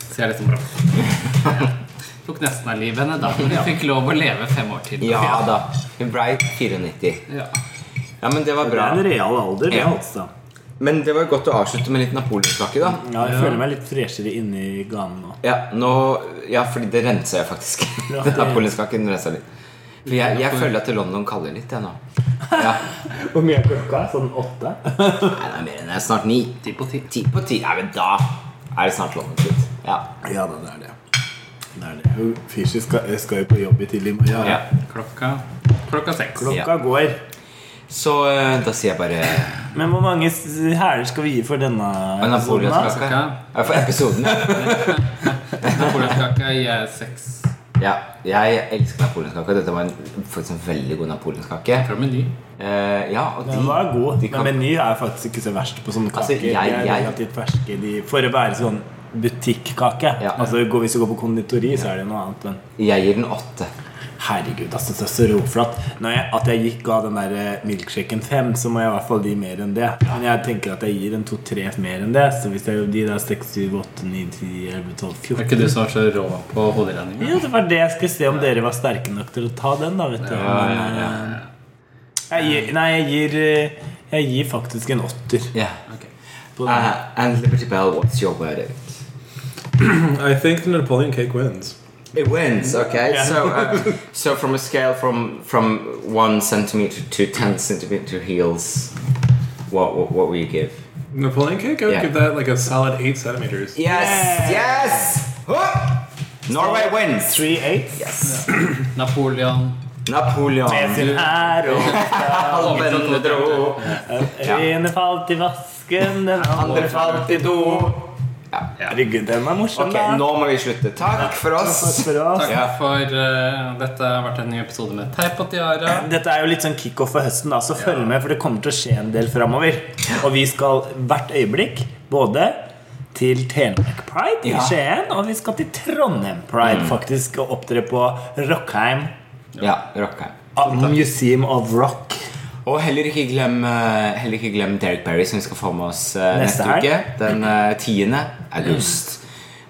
[SPEAKER 2] Så jeg liksom bare (laughs) Tok nesten av livet henne da. Men jeg fikk lov å leve fem år til.
[SPEAKER 4] Ja da. Hun blei 94.
[SPEAKER 2] Ja.
[SPEAKER 4] Ja, men det var
[SPEAKER 3] Det
[SPEAKER 4] bra.
[SPEAKER 3] er en real alder, det,
[SPEAKER 4] Ja.
[SPEAKER 3] altså.
[SPEAKER 4] Men det var godt å avslutte med litt napoleonskake, da.
[SPEAKER 3] Ja, jeg føler meg litt freshere inni ganen nå.
[SPEAKER 4] Ja, nå, ja fordi det renser jeg faktisk. (laughs)
[SPEAKER 3] Ja.
[SPEAKER 4] Napoleonskaken renser litt. For jeg, jeg føler at London kaller litt, jeg nå. Ja.
[SPEAKER 3] Hvor mye er klokka? Sånn åtte?
[SPEAKER 4] Nei, det er mer enn det. Snart ni.
[SPEAKER 2] Ti på ti.
[SPEAKER 4] Ti på ti. Nei, men da er det snart London slutt. Ja.
[SPEAKER 3] Ja da, det er det. Det er det. Fishy skal, skal jo på jobb i tidlig morgen.
[SPEAKER 4] ja.
[SPEAKER 2] Klokka Klokka seks.
[SPEAKER 3] Klokka går.
[SPEAKER 4] Så eh, da sier jeg bare
[SPEAKER 3] Men hvor mange s- hæler skal vi gi for denne episoden? da?
[SPEAKER 4] napoleonskake. Ja, eh, for episoden, ja.
[SPEAKER 2] (laughs) Napoleonskake gir jeg eh, seks
[SPEAKER 4] ja. Jeg elsker napoleonskake. Dette var en, faktisk en veldig god napoleonskake.
[SPEAKER 2] fra Meny.
[SPEAKER 4] Eh, ja, og de,
[SPEAKER 3] Den var god.
[SPEAKER 4] de
[SPEAKER 3] Men
[SPEAKER 4] kan,
[SPEAKER 3] Meny er faktisk ikke så verst på sånne
[SPEAKER 4] Altså,
[SPEAKER 3] kaker.
[SPEAKER 4] jeg-
[SPEAKER 3] de er
[SPEAKER 4] jeg-
[SPEAKER 3] relativt ferske de, For å være sånn butikkake.
[SPEAKER 4] Ja.
[SPEAKER 3] Altså, går- hvis du går på konditori, så er det noe annet. Men
[SPEAKER 4] jeg gir den åtte.
[SPEAKER 3] Herregud, altså, det er så råflott. Når jeg, at jeg gikk ga den der eh, milkshaken fem, så må jeg i hvert fall gi mer enn det. Men jeg tenker at jeg gir en to-tre mer enn det. Så hvis jeg gir de der seks, syv, åtte, ni, ti, elleve, tolv,
[SPEAKER 2] Er
[SPEAKER 3] fjorten
[SPEAKER 2] ikke du som var så rå på hoderegninga?
[SPEAKER 3] Jo, det var det jeg skulle se om dere var sterke nok til å ta den, da, vet du. Men, eh, Jeg gir, nei, jeg gir eh, Jeg gir faktisk en åtter.
[SPEAKER 4] Yeah.
[SPEAKER 3] På den.
[SPEAKER 4] Uh, and Liberty Bell, what's your verdict? Mm.
[SPEAKER 5] I think the Napoleon cake wins.
[SPEAKER 4] It wins. Okay, so (laughs) uh, so from a scale from from one centimeter to ten centimeter heels, what what, what will you give?
[SPEAKER 5] Napoleon cake? I would
[SPEAKER 4] Yeah.
[SPEAKER 5] give that like a solid eight centimeters.
[SPEAKER 4] Yes,
[SPEAKER 3] Yay!
[SPEAKER 4] yes. Whoop! Norway wins.
[SPEAKER 3] Three eights.
[SPEAKER 4] Yes.
[SPEAKER 2] Napoleon.
[SPEAKER 4] Napoleon.
[SPEAKER 3] Med sin ære.
[SPEAKER 4] Alvene dro,
[SPEAKER 3] Den ene falt i vasken, den andre
[SPEAKER 4] andre falt i do.
[SPEAKER 3] Herregud, den er morsom,
[SPEAKER 4] Ok, nå må vi slutte. Takk for oss.
[SPEAKER 3] For oss.
[SPEAKER 4] Ja.
[SPEAKER 2] For eh, dette har vært en ny episode med Teip og tiara.
[SPEAKER 3] Dette er jo litt sånn kickoff for høsten, da, så følg med, for det kommer til å skje en del framover. Og vi skal hvert øyeblikk både til Telemark Pride i
[SPEAKER 4] Ja. Mm.
[SPEAKER 3] Skien, og vi skal til Trondheim Pride, faktisk, og opptre på Rockheim
[SPEAKER 4] Ja, rocka.
[SPEAKER 3] uh, Museum of Rock.
[SPEAKER 4] Og heller ikke glem, eh, heller ikke glem Derek Barry, som vi skal få med oss eh,
[SPEAKER 3] Neste
[SPEAKER 4] neste
[SPEAKER 3] helg.
[SPEAKER 4] uke. Den eh, 10. august.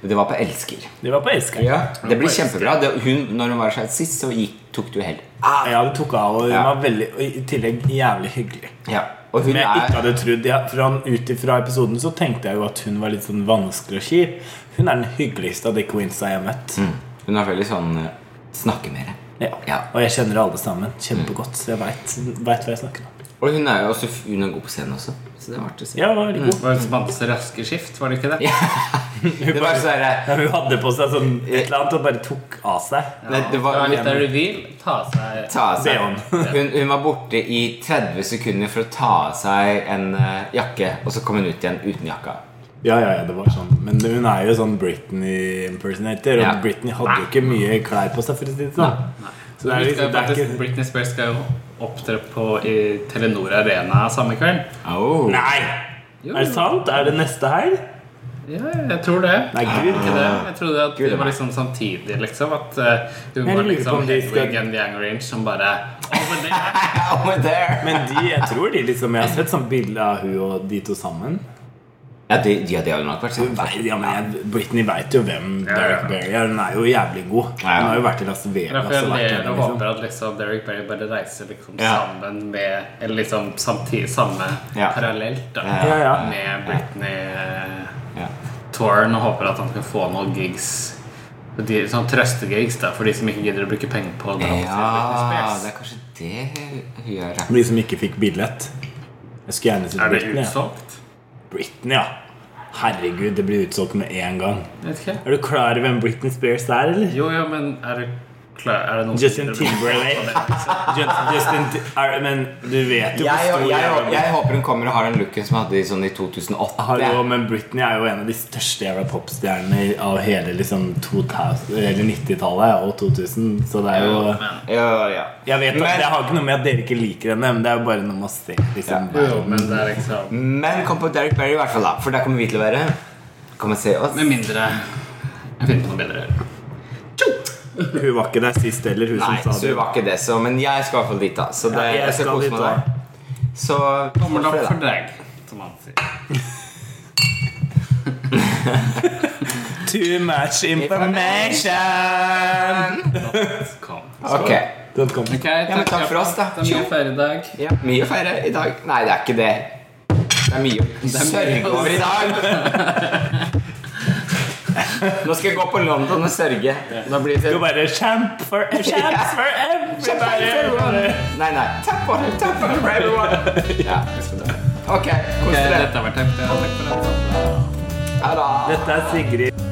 [SPEAKER 4] Det var på Elsker.
[SPEAKER 3] Det var på Elsker. Ja.
[SPEAKER 4] Det blir kjempebra. Det, hun, når hun var her sist, så gikk, tok du hell.
[SPEAKER 3] det Ah, tok av, og hun
[SPEAKER 4] Ja.
[SPEAKER 3] var veldig, og i tillegg jævlig hyggelig.
[SPEAKER 4] Ja. Og hun
[SPEAKER 3] Men jeg ikke
[SPEAKER 4] er
[SPEAKER 3] hadde trodd ja, fra, Ut ifra episoden så tenkte jeg jo at hun var litt sånn vanskelig og kjip. Hun er den hyggeligste av de queensa jeg har møtt.
[SPEAKER 4] Mm. Hun er veldig sånn eh, Snakke mer.
[SPEAKER 3] Ja.
[SPEAKER 4] Ja.
[SPEAKER 3] Og jeg kjenner alle sammen kjempegodt, så jeg veit hva jeg snakker om.
[SPEAKER 4] Og hun er jo også hun er god på scenen også. Så det var artig å se.
[SPEAKER 3] Ja, hun var veldig god.
[SPEAKER 2] Var det som hadde så raske skift, var det ikke det?
[SPEAKER 4] Det var så eh, der,
[SPEAKER 3] Ja, hun hadde på seg sånn et eller annet og bare tok av seg.
[SPEAKER 4] eh, nei, det
[SPEAKER 2] Det
[SPEAKER 4] var,
[SPEAKER 2] var litt av reveal. Ta av seg
[SPEAKER 4] ta av seg.
[SPEAKER 3] Behåen.
[SPEAKER 4] Hun, hun var borte i 30 sekunder for å ta av seg en eh, jakke, og så kom hun ut igjen uten jakka.
[SPEAKER 3] Ja, ja, ja, det var sånn Men hun er jo sånn Britney-impersonator, og
[SPEAKER 4] Ja.
[SPEAKER 3] Britney hadde jo ikke mye klær på seg. for å si det sånn Så det er
[SPEAKER 2] Vi
[SPEAKER 3] liksom,
[SPEAKER 2] skal
[SPEAKER 3] det er
[SPEAKER 2] faktisk,
[SPEAKER 3] ikke
[SPEAKER 2] Britney Spears skal jo opptre på i Telenor Arena samme kveld.
[SPEAKER 4] Oh.
[SPEAKER 3] Nei!
[SPEAKER 2] Jo,
[SPEAKER 3] Er det sant? Er det neste helg?
[SPEAKER 2] Ja, jeg tror det.
[SPEAKER 3] Nei, gud.
[SPEAKER 2] Ikke det. Jeg trodde at
[SPEAKER 4] Gud,
[SPEAKER 2] det var
[SPEAKER 4] nei.
[SPEAKER 2] liksom samtidig, liksom. At eh, hun
[SPEAKER 3] Jeg
[SPEAKER 2] var
[SPEAKER 3] lurer på
[SPEAKER 2] liksom
[SPEAKER 3] om de skal-
[SPEAKER 2] Hedwig and the Anger Inch som bare over there.
[SPEAKER 4] Over there.
[SPEAKER 3] Men de, jeg tror de liksom Jeg har sett sånn bilde av hun og de to sammen.
[SPEAKER 4] Ja, det, ja, det hadde nok vært
[SPEAKER 3] Hun
[SPEAKER 4] sant.
[SPEAKER 3] vet- Ja, men jeg, Britney veit jo hvem
[SPEAKER 2] Ja, ja, ja.
[SPEAKER 3] Derek Berry er. Hun er jo jævlig god.
[SPEAKER 4] Ja, ja.
[SPEAKER 3] Hun har jo vært i Las Vegas.
[SPEAKER 2] Derfor jeg
[SPEAKER 3] og vært
[SPEAKER 2] ler
[SPEAKER 3] hjemme,
[SPEAKER 2] og
[SPEAKER 3] liksom.
[SPEAKER 2] håper at liksom Derek Berry bare reiser liksom
[SPEAKER 4] Ja.
[SPEAKER 2] sammen med Eller liksom samtidig samme
[SPEAKER 4] Ja.
[SPEAKER 2] parallelt da
[SPEAKER 4] Ja,
[SPEAKER 3] ja, ja.
[SPEAKER 2] med Britney eh,
[SPEAKER 4] Ja.
[SPEAKER 2] Torn og håper at han skal få noen gigs. For De, sånn trøstegigs da, for de som ikke gidder å bruke penger på å dra på scenen med Britney
[SPEAKER 4] Ja,
[SPEAKER 2] Spears.
[SPEAKER 4] det er kanskje det hun gjør. ja.
[SPEAKER 3] For de som ikke fikk billett. Jeg skulle gjerne sett
[SPEAKER 2] Er det
[SPEAKER 3] Britney. Ja.
[SPEAKER 2] utsolgt?
[SPEAKER 3] Britney, ja. Herregud, det blir utsolgt med en gang.
[SPEAKER 2] Vet ikke.
[SPEAKER 3] Er du klar over hvem Britney Spears er, eller?
[SPEAKER 2] Jo, ja, men er det klar, er det noen
[SPEAKER 3] Justin
[SPEAKER 2] som gidder å bruke (laughs) penger på det, liksom?
[SPEAKER 3] Justin, Justin Ti- er, men du vet jo hvor
[SPEAKER 4] Jeg, jeg,
[SPEAKER 3] stor
[SPEAKER 4] jeg,
[SPEAKER 3] hun er.
[SPEAKER 4] jeg håper hun kommer og har den looken som hun hadde i sånn i 2008.
[SPEAKER 3] Hallo, men Britney er jo en av de største jævla popstjernene i- av hele liksom 2000 eller 90-tallet og 2000, så det er jo
[SPEAKER 4] Ja, ja.
[SPEAKER 3] Jeg vet at
[SPEAKER 4] Men-
[SPEAKER 3] Det har ikke noe med at dere ikke liker henne, men det er jo bare noe med å se. Liksom,
[SPEAKER 2] Jo, men det er liksom
[SPEAKER 4] Men kom på Derek Berry, i hvert fall, da. For der kommer vi til å være. Kom og se oss.
[SPEAKER 2] Med mindre jeg finner på noe bedre å gjøre.
[SPEAKER 3] Hun var ikke der sist heller, hun
[SPEAKER 4] Nei,
[SPEAKER 3] som
[SPEAKER 4] så
[SPEAKER 3] sa det.
[SPEAKER 4] det var ikke det, så Men jeg skal i hvert fall dit, da. Så det,
[SPEAKER 3] Ja, jeg
[SPEAKER 4] jeg skal
[SPEAKER 3] skal
[SPEAKER 4] kose
[SPEAKER 3] dit
[SPEAKER 4] meg der. Så
[SPEAKER 2] Tommel opp
[SPEAKER 4] fredag.
[SPEAKER 2] for drag, som han sier.
[SPEAKER 3] Too much information!
[SPEAKER 2] Kom.
[SPEAKER 4] Ok.
[SPEAKER 3] Den kom.
[SPEAKER 2] Ok, takk,
[SPEAKER 4] men takk for oss, da.
[SPEAKER 2] Det er mye
[SPEAKER 4] Tjo.
[SPEAKER 2] ferie i dag.
[SPEAKER 4] Ja, mye å feire i dag. Nei, det er ikke det. Det er mye å
[SPEAKER 2] er mye
[SPEAKER 4] sørge
[SPEAKER 2] å-
[SPEAKER 4] over i dag. Nå skal jeg gå på London og sørge. Da blir det
[SPEAKER 3] Du bare champ for,
[SPEAKER 4] (laughs)
[SPEAKER 3] champs for everybody!
[SPEAKER 4] Nei, nei. Takk for det. Takk for det, everyone. Ja. Ok, kos
[SPEAKER 2] Ok,
[SPEAKER 4] dere. altså.
[SPEAKER 2] Dette har vært tøft. ja. Takk for at du kom.
[SPEAKER 4] Ha det.
[SPEAKER 3] Dette er Sigrid.